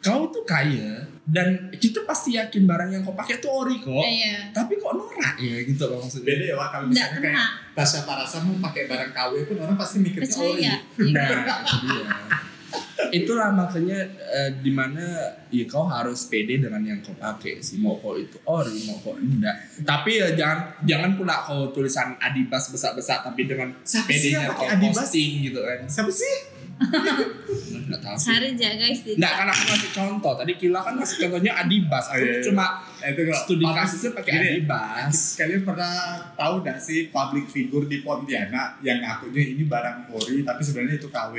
Speaker 1: kau tuh kaya dan kita pasti yakin barang yang kau pakai tuh ori kok.
Speaker 3: Iya.
Speaker 1: Tapi kok norak ya gitu loh maksudnya.
Speaker 2: Beda ya Wak, kalau
Speaker 3: Nggak
Speaker 2: misalnya
Speaker 3: kena.
Speaker 2: kayak
Speaker 1: gitu.
Speaker 2: Tasya Parasa mau pakai barang KW pun orang pasti mikirnya oh
Speaker 3: Percaya.
Speaker 2: iya.
Speaker 1: Nah, itu dia. Itulah makanya eh, dimana ya kau harus pede dengan yang kau pakai sih mau kau itu ori mau kau enggak. Tapi ya jangan jangan pula kau tulisan Adibas besar-besar tapi dengan
Speaker 2: Siapa sih
Speaker 1: pedenya
Speaker 2: yang
Speaker 1: kau
Speaker 2: pakai Adibas?
Speaker 1: posting gitu kan.
Speaker 2: Siapa sih?
Speaker 1: Nggak tahu sih.
Speaker 3: Sarja guys di.
Speaker 1: Nggak, kan aku ngasih contoh. Tadi Kila kan ngasih contohnya Adibas. Aku
Speaker 2: Oh, iya, iya.
Speaker 1: cuma
Speaker 2: Eh, Itu kalau
Speaker 1: studi
Speaker 2: public-
Speaker 1: kasusnya pakai
Speaker 2: Gini,
Speaker 1: Adibas.
Speaker 2: Kalian pernah tahu gak sih public figure di Pontianak yang ngakunya ini barang ori tapi sebenarnya itu KW.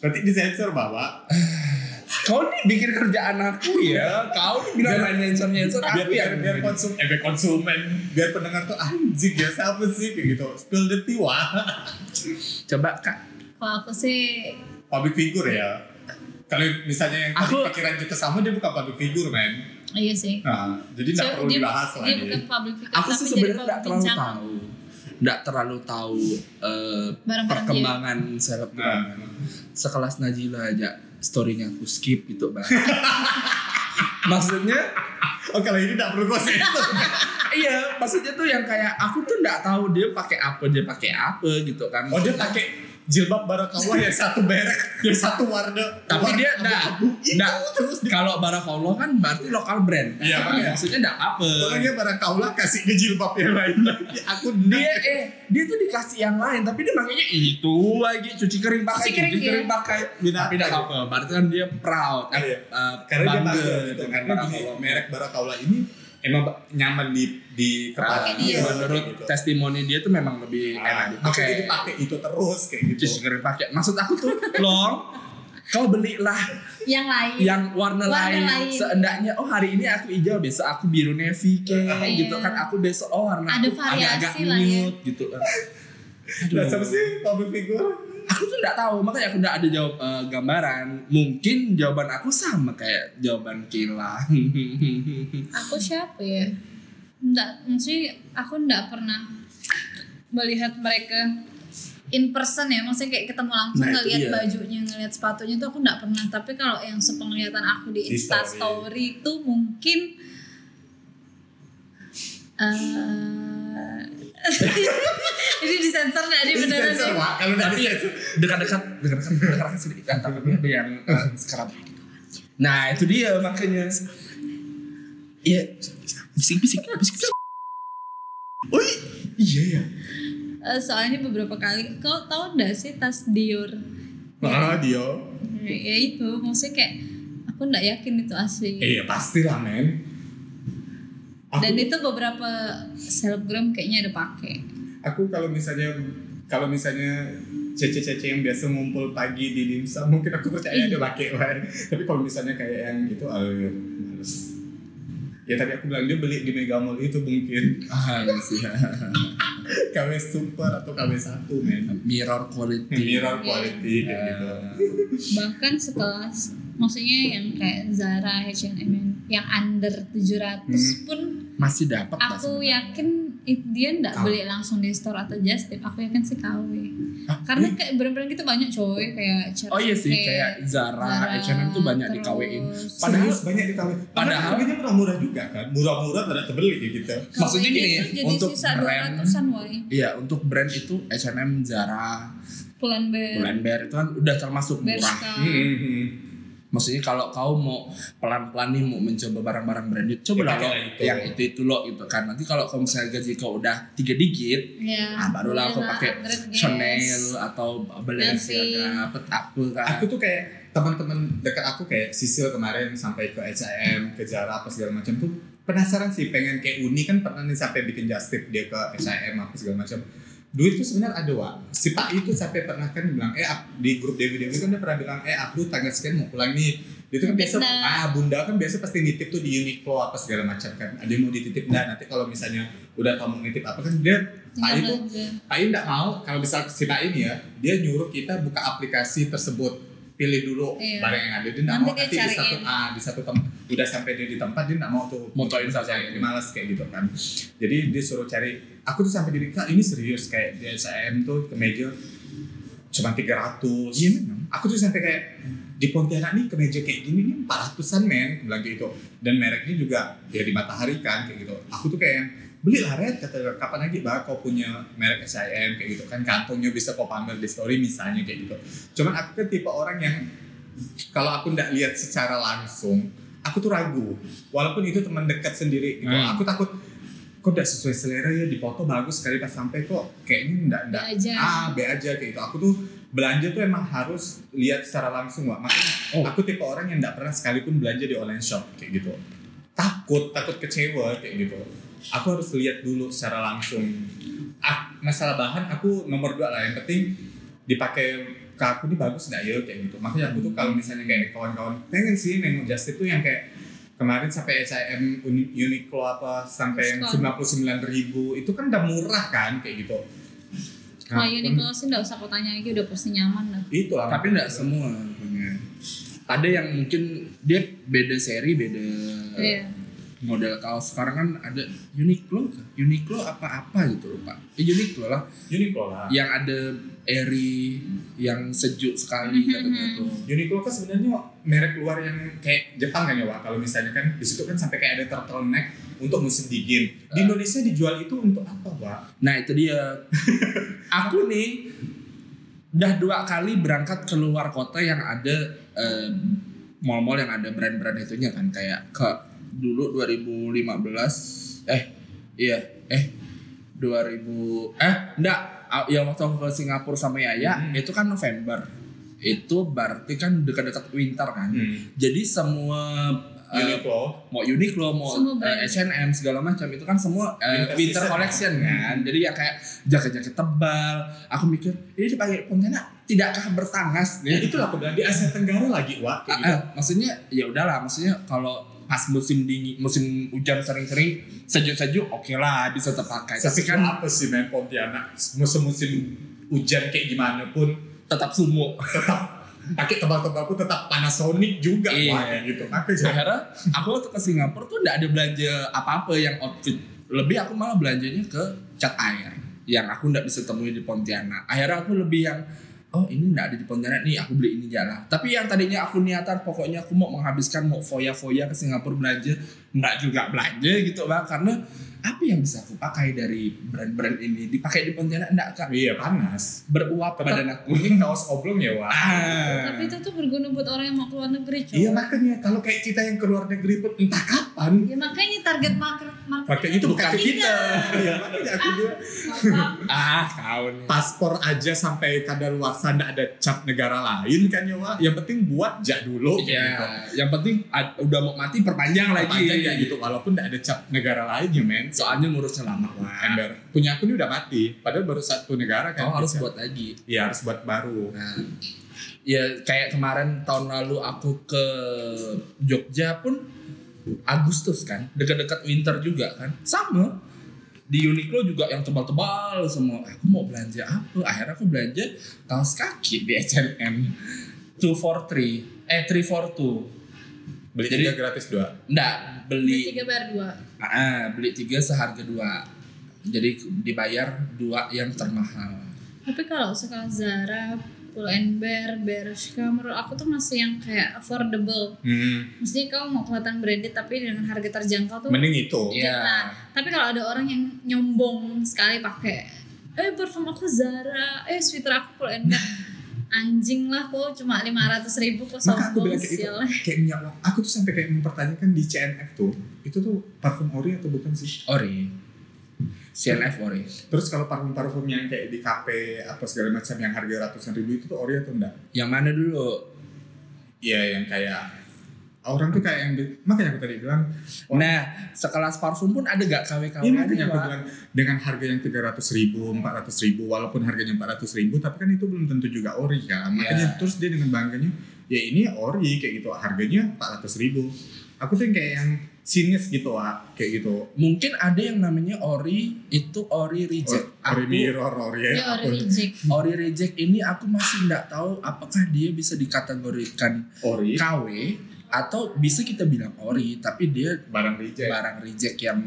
Speaker 2: Berarti disensor bawa.
Speaker 1: Kau nih bikin kerjaan aku ya. Kau nih bilang main sensor sensor
Speaker 2: biar
Speaker 1: aku
Speaker 2: biar,
Speaker 1: yang
Speaker 2: biar konsum eh, biar konsumen biar pendengar tuh anjing ya siapa sih kayak gitu spill the tea wah
Speaker 1: Coba kak.
Speaker 3: Kalau aku sih
Speaker 2: public figure ya kalau misalnya yang tadi
Speaker 1: Aku-
Speaker 2: pikiran kita sama dia bukan public figure men
Speaker 3: iya sih.
Speaker 2: nah jadi nggak
Speaker 3: So,
Speaker 2: perlu dibahas
Speaker 3: dia
Speaker 2: lagi
Speaker 3: bukan public figure
Speaker 1: Aku sih
Speaker 3: tapi jadi
Speaker 1: sebenarnya nggak terlalu
Speaker 3: perbincangan.
Speaker 1: tahu. nggak terlalu tahu eh,
Speaker 3: Barang-barang dia.
Speaker 1: perkembangan seleb
Speaker 2: Nah.
Speaker 1: sekelas Najila aja storynya aku skip gitu bang maksudnya
Speaker 2: Oh kalau ini tidak perlu gue sensor.
Speaker 1: iya maksudnya tuh yang kayak aku tuh nggak tahu dia pakai apa dia pakai apa gitu kan
Speaker 2: Oh dia pakai jilbab barakawah yang satu merek, yang satu warna.
Speaker 1: Tapi dia nah. nggak- nggak.
Speaker 2: Enggak Iya, terus di
Speaker 1: kalau Barakallah kan berarti lokal brand kan.
Speaker 2: Iya, makanya.
Speaker 1: maksudnya nggak apa
Speaker 2: Orangnya barakaulah kasih ke jilbab yang lain lagi. Aku
Speaker 1: dia eh dia tuh dikasih yang lain tapi dia makanya itu lagi cuci kering pakai
Speaker 3: Cuci kering, iya.
Speaker 1: pakai tapi nggak apa berarti kan dia proud eh,
Speaker 2: gitu. Iya.
Speaker 1: eh,
Speaker 2: karena dia
Speaker 1: bangga
Speaker 2: bangga gitu
Speaker 1: gitu
Speaker 2: kan karena
Speaker 1: kan
Speaker 2: gini,
Speaker 1: Barakallah.
Speaker 2: merek barakaulah ini emang ba- nyaman di di kepala
Speaker 1: Nah,
Speaker 3: Iya.
Speaker 1: menurut
Speaker 2: gitu.
Speaker 1: testimoni dia tuh memang lebih enak
Speaker 2: Nah,
Speaker 1: dipakai.
Speaker 2: Jadi pakai itu terus kayak gitu.
Speaker 1: Cuci kering pakai. Maksud aku tuh long kau belilah
Speaker 3: yang lain
Speaker 1: yang warna,
Speaker 3: Warna
Speaker 1: lain.
Speaker 3: lain.
Speaker 1: seendaknya oh hari ini aku hijau besok aku biru navy kayak
Speaker 3: Iya.
Speaker 1: gitu kan aku besok oh warna
Speaker 3: Ada
Speaker 1: aku agak-agak
Speaker 3: variasi lah ya.
Speaker 1: nude gitu Aduh.
Speaker 2: Nah, sama sih public figure.
Speaker 1: aku tuh nggak tahu makanya aku nggak ada jawab eh, gambaran mungkin jawaban aku sama kayak jawaban Kila
Speaker 3: aku siapa ya nggak maksudnya aku nggak pernah melihat mereka in person ya maksudnya kayak ketemu langsung
Speaker 1: Nah, itu
Speaker 3: ngelihat
Speaker 1: dia.
Speaker 3: bajunya ngelihat sepatunya tuh aku nggak pernah tapi kalau yang sepenglihatan aku di
Speaker 2: Di
Speaker 3: insta
Speaker 2: story.
Speaker 3: story itu mungkin eh ini disensor nggak nih
Speaker 2: Ini
Speaker 3: beneran
Speaker 2: sensor,
Speaker 3: nih?
Speaker 2: Wak. Kalau nggak
Speaker 1: tapi
Speaker 2: disensor.
Speaker 1: dekat-dekat dekat-dekat dekat-dekat sedikit kan tapi ada yang eh, sekarang nah itu dia makanya iya bisik bisik bisik bisik Oi, iya ya.
Speaker 3: Eh, soalnya beberapa kali kau tahu nggak sih tas Dior
Speaker 2: Nah, dia.
Speaker 3: ya itu maksudnya kayak aku nggak yakin itu asli
Speaker 2: Eh, ya pasti lah, men. Aku-
Speaker 3: Iya. Dan itu beberapa selebgram kayaknya ada pakai.
Speaker 2: aku kalau misalnya kalau misalnya cece-cece yang biasa ngumpul pagi di dimsum mungkin aku percaya
Speaker 3: Iya.
Speaker 2: ada pakai Wan. tapi kalau misalnya kayak yang gitu aduh males ya tapi aku bilang dia beli di Mega Mall itu mungkin
Speaker 1: Ah, iya sih.
Speaker 2: KW super atau KW satu men
Speaker 1: Mirror quality. Eh,
Speaker 2: mirror quality
Speaker 1: Iya.
Speaker 2: kayak gitu
Speaker 3: Bahkan sekelas maksudnya yang kayak Zara, H&M yang under 700
Speaker 2: Hmm.
Speaker 3: pun
Speaker 1: Masih dapat
Speaker 3: aku yakin it- dia nggak
Speaker 2: Kau.
Speaker 3: beli langsung di store atau just tip. Aku yakin sih KW. Karena kayak brand-brand gitu banyak coy kayak Charles
Speaker 1: Ah, iya. Oh iya sih,
Speaker 3: Kate,
Speaker 1: kayak
Speaker 3: ya,
Speaker 1: Zara,
Speaker 3: Zara,
Speaker 1: H&M tuh banyak
Speaker 3: terus-
Speaker 1: dikawin.
Speaker 2: padahal
Speaker 1: Padahal
Speaker 2: banyak di KW
Speaker 1: padahal- Hmm.
Speaker 2: harganya pernah murah juga kan murah-murah tidak terbeli kayak gitu
Speaker 3: KW
Speaker 1: Maksudnya
Speaker 3: dia
Speaker 1: gini,
Speaker 3: tuh jadi
Speaker 1: untuk
Speaker 3: sisa
Speaker 1: brand-
Speaker 3: 200-an woy.
Speaker 1: Iya, untuk brand itu H&M, Zara,
Speaker 3: Pull&Bear,
Speaker 1: Pull&Bear itu kan udah termasuk murah.
Speaker 3: Bershka.
Speaker 2: Hmm.
Speaker 1: Maksudnya kalau kau mau pelan-pelan nih mau mencoba barang-barang branded,
Speaker 2: Ya,
Speaker 1: coba lah lo
Speaker 2: kayak gitu.
Speaker 1: yang itu itu lo gitu kan. Nanti kalau kau misalnya gaji kau udah tiga digit,
Speaker 3: Ya,
Speaker 1: ah, barulah aku
Speaker 3: Bella,
Speaker 1: pakai
Speaker 3: Andret Guess. Ya
Speaker 1: Chanel Ah, atau Balenciaga, apa apa kan.
Speaker 2: aku tuh kayak teman-teman dekat aku kayak Sisil kemarin sampai ke H&M ke Zara apa segala macam tuh penasaran sih pengen kayak Uni kan pernah nih sampai bikin justip dia ke H&M apa segala macam duit tuh sebenarnya ada wa si Pak itu sampai pernah kan bilang eh ak- di grup Dewi Dewi kan dia pernah bilang eh aku tanggal sekian mau pulang nih dia tuh kan biasa
Speaker 3: Bunda.
Speaker 2: ah bunda kan biasa pasti nitip tuh di Uniqlo apa segala macam kan ada yang mau dititip nah nanti kalau misalnya udah kamu nitip apa kan dia Pak
Speaker 3: Tinggal
Speaker 2: itu
Speaker 3: belanja.
Speaker 2: Pak Im nggak mau kalau bisa si Pak Im ya dia nyuruh kita buka aplikasi tersebut pilih dulu
Speaker 3: Iya.
Speaker 2: barang yang ada dia nggak
Speaker 3: Nanti
Speaker 2: mau
Speaker 3: dia
Speaker 2: nanti di
Speaker 3: cariin.
Speaker 2: satu ah, di satu tempat udah sampai dia di tempat dia nggak mau tuh
Speaker 1: Motoin saja.
Speaker 2: Dia malas kayak gitu kan jadi dia suruh cari aku tuh sampai diri kak ini serius kayak di SIM tuh ke meja cuma 300
Speaker 1: Iya memang.
Speaker 2: aku tuh sampai kayak di Pontianak nih kemeja kayak gini nih 400-an men aku bilang kayak gitu dan mereknya juga ya di matahari kan kayak gitu aku tuh kayak belilah red kata dia, kapan lagi bah kau punya merek SIM kayak gitu kan kantongnya bisa kau pamer di story misalnya kayak gitu cuman aku kan tipe orang yang kalau aku ndak lihat secara langsung aku tuh ragu walaupun itu teman dekat sendiri gitu
Speaker 1: Hmm.
Speaker 2: aku takut kok ndak sesuai selera ya di foto bagus sekali pas sampai kok kayaknya ndak ndak
Speaker 3: Be Iya aja.
Speaker 2: ah B aja kayak gitu aku tuh belanja tuh emang harus lihat secara langsung Wak. makanya
Speaker 1: Oh.
Speaker 2: aku tipe orang yang ndak pernah sekalipun belanja di online shop kayak gitu takut takut kecewa kayak gitu aku harus lihat dulu secara langsung ah, masalah bahan aku nomor dua lah yang penting dipakai ke aku ini bagus nggak ya kayak gitu makanya aku tuh kalau misalnya kayak kawan-kawan pengen sih nengok just itu yang kayak kemarin sampai SIM Uni- Uniqlo apa sampai yang
Speaker 3: Diskon.
Speaker 2: 99.000 ribu itu kan udah murah kan kayak gitu
Speaker 3: Kalau
Speaker 2: Nah,
Speaker 3: Uniqlo sih nggak usah aku tanya lagi udah pasti nyaman lah.
Speaker 2: itu lah
Speaker 1: Tapi nggak semua. punya. Ada yang mungkin dia beda seri, beda
Speaker 3: Iya.
Speaker 1: model kaos sekarang kan ada Uniqlo kan? Uniqlo apa-apa gitu lupa eh, Uniqlo lah
Speaker 2: Uniqlo lah.
Speaker 1: yang ada airy yang sejuk sekali
Speaker 3: Mhm.
Speaker 1: katanya tuh
Speaker 2: Uniqlo kan sebenarnya merek luar yang kayak Jepang kan ya Wak? Kalau misalnya kan di situ kan sampai kayak ada turtle neck untuk musim dingin. Di
Speaker 1: Ah.
Speaker 2: Indonesia dijual itu untuk apa Wak?
Speaker 1: nah itu dia aku nih udah dua kali berangkat ke luar kota yang ada eh, mall-mall yang ada brand-brand itunya kan kayak ke dulu 2015 eh iya eh 2000 eh enggak ah, yang waktu aku ke Singapura sama Yaya
Speaker 2: Hmm.
Speaker 1: itu kan November itu berarti kan dekat-dekat winter kan
Speaker 2: Hmm.
Speaker 1: jadi semua eh,
Speaker 2: Uniqlo.
Speaker 1: mau Uniqlo, mau
Speaker 3: Semua brand.
Speaker 1: eh, H&M segala macam itu kan semua
Speaker 2: Winter
Speaker 1: eh, winter,
Speaker 2: season.
Speaker 1: collection kan. Jadi ya kayak jaket-jaket tebal. Aku mikir ini dipakai Pontianak tidakkah bertangas
Speaker 2: Ya
Speaker 1: nih?
Speaker 2: itulah aku bilang di Asia Tenggara lagi Wak.
Speaker 1: Ah,
Speaker 2: kayak gitu.
Speaker 1: ah, maksudnya ya udahlah, maksudnya kalau pas musim dingin, musim hujan sering-sering sejuk-sejuk oke lah bisa terpakai. Tapi
Speaker 2: Tapi
Speaker 1: kan
Speaker 2: apa sih men Pontianak musim-musim hujan kayak gimana pun
Speaker 1: tetap sumuk.
Speaker 2: tetap pakai tebal-tebal pun tetap Panasonic juga
Speaker 1: Iya.
Speaker 2: Wak, kayak gitu. Makanya
Speaker 1: Akhirnya aku waktu ke Singapura tuh nggak ada belanja apa-apa yang outfit. Lebih aku malah belanjanya ke cat air yang aku nggak bisa temui di Pontianak. Akhirnya aku lebih yang oh ini nggak ada di Pontianak nih aku beli ini jalan. Tapi yang tadinya aku niatan pokoknya aku mau menghabiskan mau foya-foya ke Singapura belanja nggak juga belanja gitu bang karena apa yang bisa aku pakai dari brand-brand ini dipakai di Pontianak nggak kak
Speaker 2: iya panas.
Speaker 1: beruap
Speaker 2: Tetap
Speaker 1: badan aku.
Speaker 2: Ini kaos oblong ya Wak.
Speaker 1: Ah.
Speaker 3: Iya. Tapi itu tuh berguna buat orang yang mau keluar negeri, coy.
Speaker 2: Iya makanya kalau kayak kita yang keluar negeri pun entah kapan
Speaker 3: Ya makanya target market market
Speaker 2: Makanya itu bukan kita. Iya, makanya aku bilang
Speaker 1: ah kau nih.
Speaker 2: paspor aja sampai kadaluarsa nggak ada cap negara lain kan ya Wak. Yang penting buat jak dulu.
Speaker 1: Iya, iya,
Speaker 2: gitu.
Speaker 1: yang penting ad- udah mau mati perpanjang lagi. Gitu.
Speaker 2: Perpanjang ya gitu walaupun nggak ada cap negara lain ya men.
Speaker 1: Soalnya ngurusnya lama Wak.
Speaker 2: Ember. Punya aku ini udah mati. Padahal baru satu negara kan.
Speaker 1: Kau Oh, harus
Speaker 2: Bisa.
Speaker 1: buat lagi.
Speaker 2: Iya harus buat baru.
Speaker 1: Nah, ya kayak kemarin tahun lalu aku ke Jogja pun Agustus kan, dekat-dekat winter juga kan, sama di Uniqlo juga yang tebal-tebal semua. Aku mau belanja apa? Akhirnya aku belanja kaos kaki di H&M 243 eh 342.
Speaker 2: Beli
Speaker 1: Jadi-
Speaker 2: tiga gratis dua.
Speaker 1: Nggak beli
Speaker 3: tiga bar dua.
Speaker 1: Ah, beli tiga seharga dua. Jadi dibayar dua yang termahal.
Speaker 3: Tapi kalau sekarang Zara, Pull and Bear, Bershka, menurut aku tuh masih yang kayak affordable.
Speaker 2: Hmm.
Speaker 3: Mesti kamu mau kelihatan branded tapi dengan harga terjangkau tuh.
Speaker 2: Mending itu.
Speaker 1: Iya.
Speaker 3: Tapi kalau ada orang yang nyombong sekali pakai eh parfum aku Zara, eh sweater aku Pull and Bear. Anjing lah kok cuma 500 ribu kok
Speaker 2: Maka aku
Speaker 3: sombong
Speaker 2: bilang kayak gitu.
Speaker 3: sial.
Speaker 2: Kayak minyak wangi. Aku tuh sampai kayak mempertanyakan di CNF tuh. Itu tuh parfum ori atau bukan sih?
Speaker 1: Ori. CNF Ori.
Speaker 2: Terus kalau parfum-parfum yang kayak di kafe apa segala macam yang harga ratusan ribu itu tuh ori atau enggak?
Speaker 1: Yang mana dulu?
Speaker 2: Iya yang kayak Oh, orang tuh kayak yang bi- makanya aku tadi bilang orang-
Speaker 1: Nah, sekelas parfum pun ada gak KW KW
Speaker 2: Iya makanya aku bilang dengan harga yang tiga ratus ribu, empat ratus ribu, walaupun harganya empat ratus ribu, tapi kan itu belum tentu juga ori kan. Makanya
Speaker 1: Iya.
Speaker 2: terus dia dengan bangganya, ya ini ori kayak gitu, harganya empat ratus ribu. Aku tuh yang kayak yang sinis gitu ah, kayak gitu.
Speaker 1: Mungkin ada yang namanya Ori itu Ori
Speaker 2: Or,
Speaker 1: reject.
Speaker 2: ori
Speaker 1: Aku-
Speaker 2: mirror, ori
Speaker 3: Dia
Speaker 2: apa,
Speaker 3: orang reject.
Speaker 1: Ori reject ini aku masih nggak tahu apakah dia bisa dikategorikan
Speaker 2: ori
Speaker 1: KW atau bisa kita bilang ori tapi dia
Speaker 2: barang reject.
Speaker 1: barang reject yang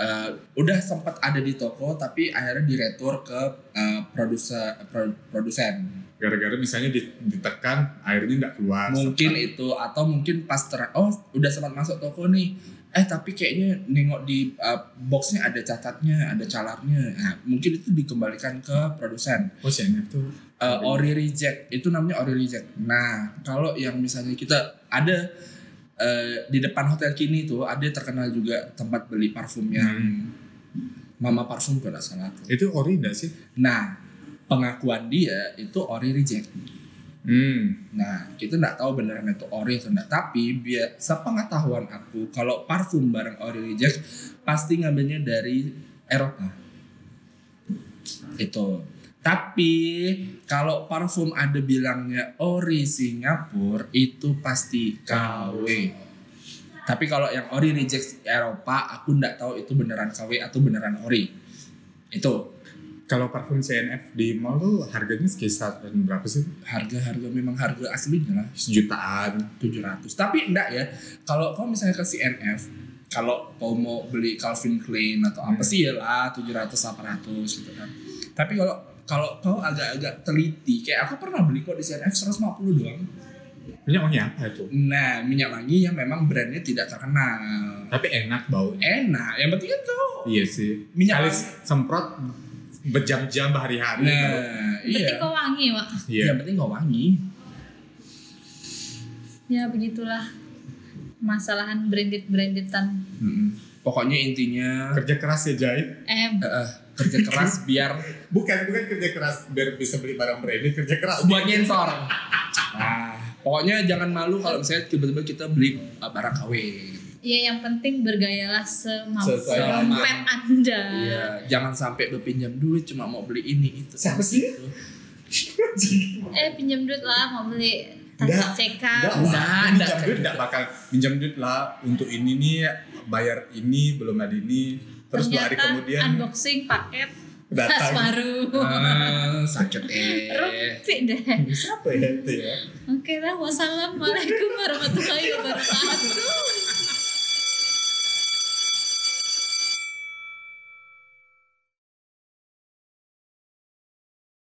Speaker 1: eh, udah sempat ada di toko tapi akhirnya diretur ke eh, produser pro- produsen
Speaker 2: Gara-gara misalnya di- ditekan, airnya nggak keluar.
Speaker 1: mungkin
Speaker 2: Sempat-
Speaker 1: itu atau mungkin pas ter oh udah sempat masuk toko nih eh tapi kayaknya nengok di eh, boxnya ada cacatnya ada calarnya nah, mungkin itu dikembalikan ke produsen
Speaker 2: Oh CNF tuh.
Speaker 1: Eh, ori reject itu namanya ori reject nah kalau yang misalnya kita ada eh, di depan hotel kini tuh ada terkenal juga tempat beli parfum yang
Speaker 2: Hmm.
Speaker 1: Mama Parfum kalau nggak salah aku.
Speaker 2: Itu ori nggak sih?
Speaker 1: Nah, pengakuan dia itu ori reject.
Speaker 2: Hmm.
Speaker 1: Nah, kita nggak tahu beneran itu ori atau enggak. Tapi biar sepengetahuan aku, kalau parfum barang ori reject pasti ngambilnya dari Eropa. Itu. Tapi kalau parfum ada bilangnya ori Singapura itu pasti KW. Tapi kalau yang ori reject Eropa, aku nggak tahu itu beneran KW atau beneran ori. Itu.
Speaker 2: Kalau parfum CNF di mall tuh harganya sekitar berapa sih?
Speaker 1: harga-harga memang harga aslinya lah
Speaker 2: Sejutaan.
Speaker 1: 700 tapi enggak ya kalau kau misalnya ke CNF kalau kau mau beli Calvin Klein atau apa sih ya lah 700 800 gitu kan. Tapi kalau kalau kau agak-agak teliti, kayak aku pernah beli kok di CNF 150 doang.
Speaker 2: Minyak wangi apa itu?
Speaker 1: Nah, minyak wangi yang memang brandnya tidak terkenal.
Speaker 2: Tapi enak baunya.
Speaker 1: Enak, yang penting kan kau
Speaker 2: Iya sih. Sekali
Speaker 1: Minyak wangi.
Speaker 2: semprot berjam-jam berhari-hari. baru-
Speaker 1: Nah,
Speaker 3: Berarti
Speaker 1: iya.
Speaker 3: kau wangi, Wak.
Speaker 2: Iya.
Speaker 1: Yang penting kau wangi.
Speaker 3: Ya begitulah masalahan branded-brandedan.
Speaker 1: Mm-mm. Pokoknya intinya
Speaker 2: Kerja keras ya Jai.
Speaker 3: Eh,
Speaker 1: eh, eh, kerja keras biar
Speaker 2: Bukan bukan kerja keras biar bisa beli barang branded kerja keras.
Speaker 1: buat nyensor. Nah, pokoknya jangan malu kalau misalnya tiba-tiba kita beli uh, barang KW.
Speaker 3: ya yang penting bergayalah semampu
Speaker 2: Sesuai
Speaker 3: dompet Anda.
Speaker 1: Iya, jangan sampai berpinjam duit cuma mau beli ini itu. Gitu.
Speaker 2: Siapa sih?
Speaker 1: Itu.
Speaker 3: Eh, pinjam duit lah mau beli
Speaker 2: Nggak.
Speaker 3: tas CK.
Speaker 2: Enggak, lah.
Speaker 1: Nggak, nggak.
Speaker 2: minjam duit enggak bakal minjam duit lah untuk ini nih bayar ini belum ada ini terus dua hari
Speaker 3: Ternyata
Speaker 2: kemudian
Speaker 3: unboxing paket tas
Speaker 2: datang
Speaker 3: baru.
Speaker 1: Ah, sakit eh.
Speaker 3: Rumpi deh.
Speaker 2: siapa ya itu ya
Speaker 3: Oke lah, wassalamualaikum warahmatullahi wabarakatuh.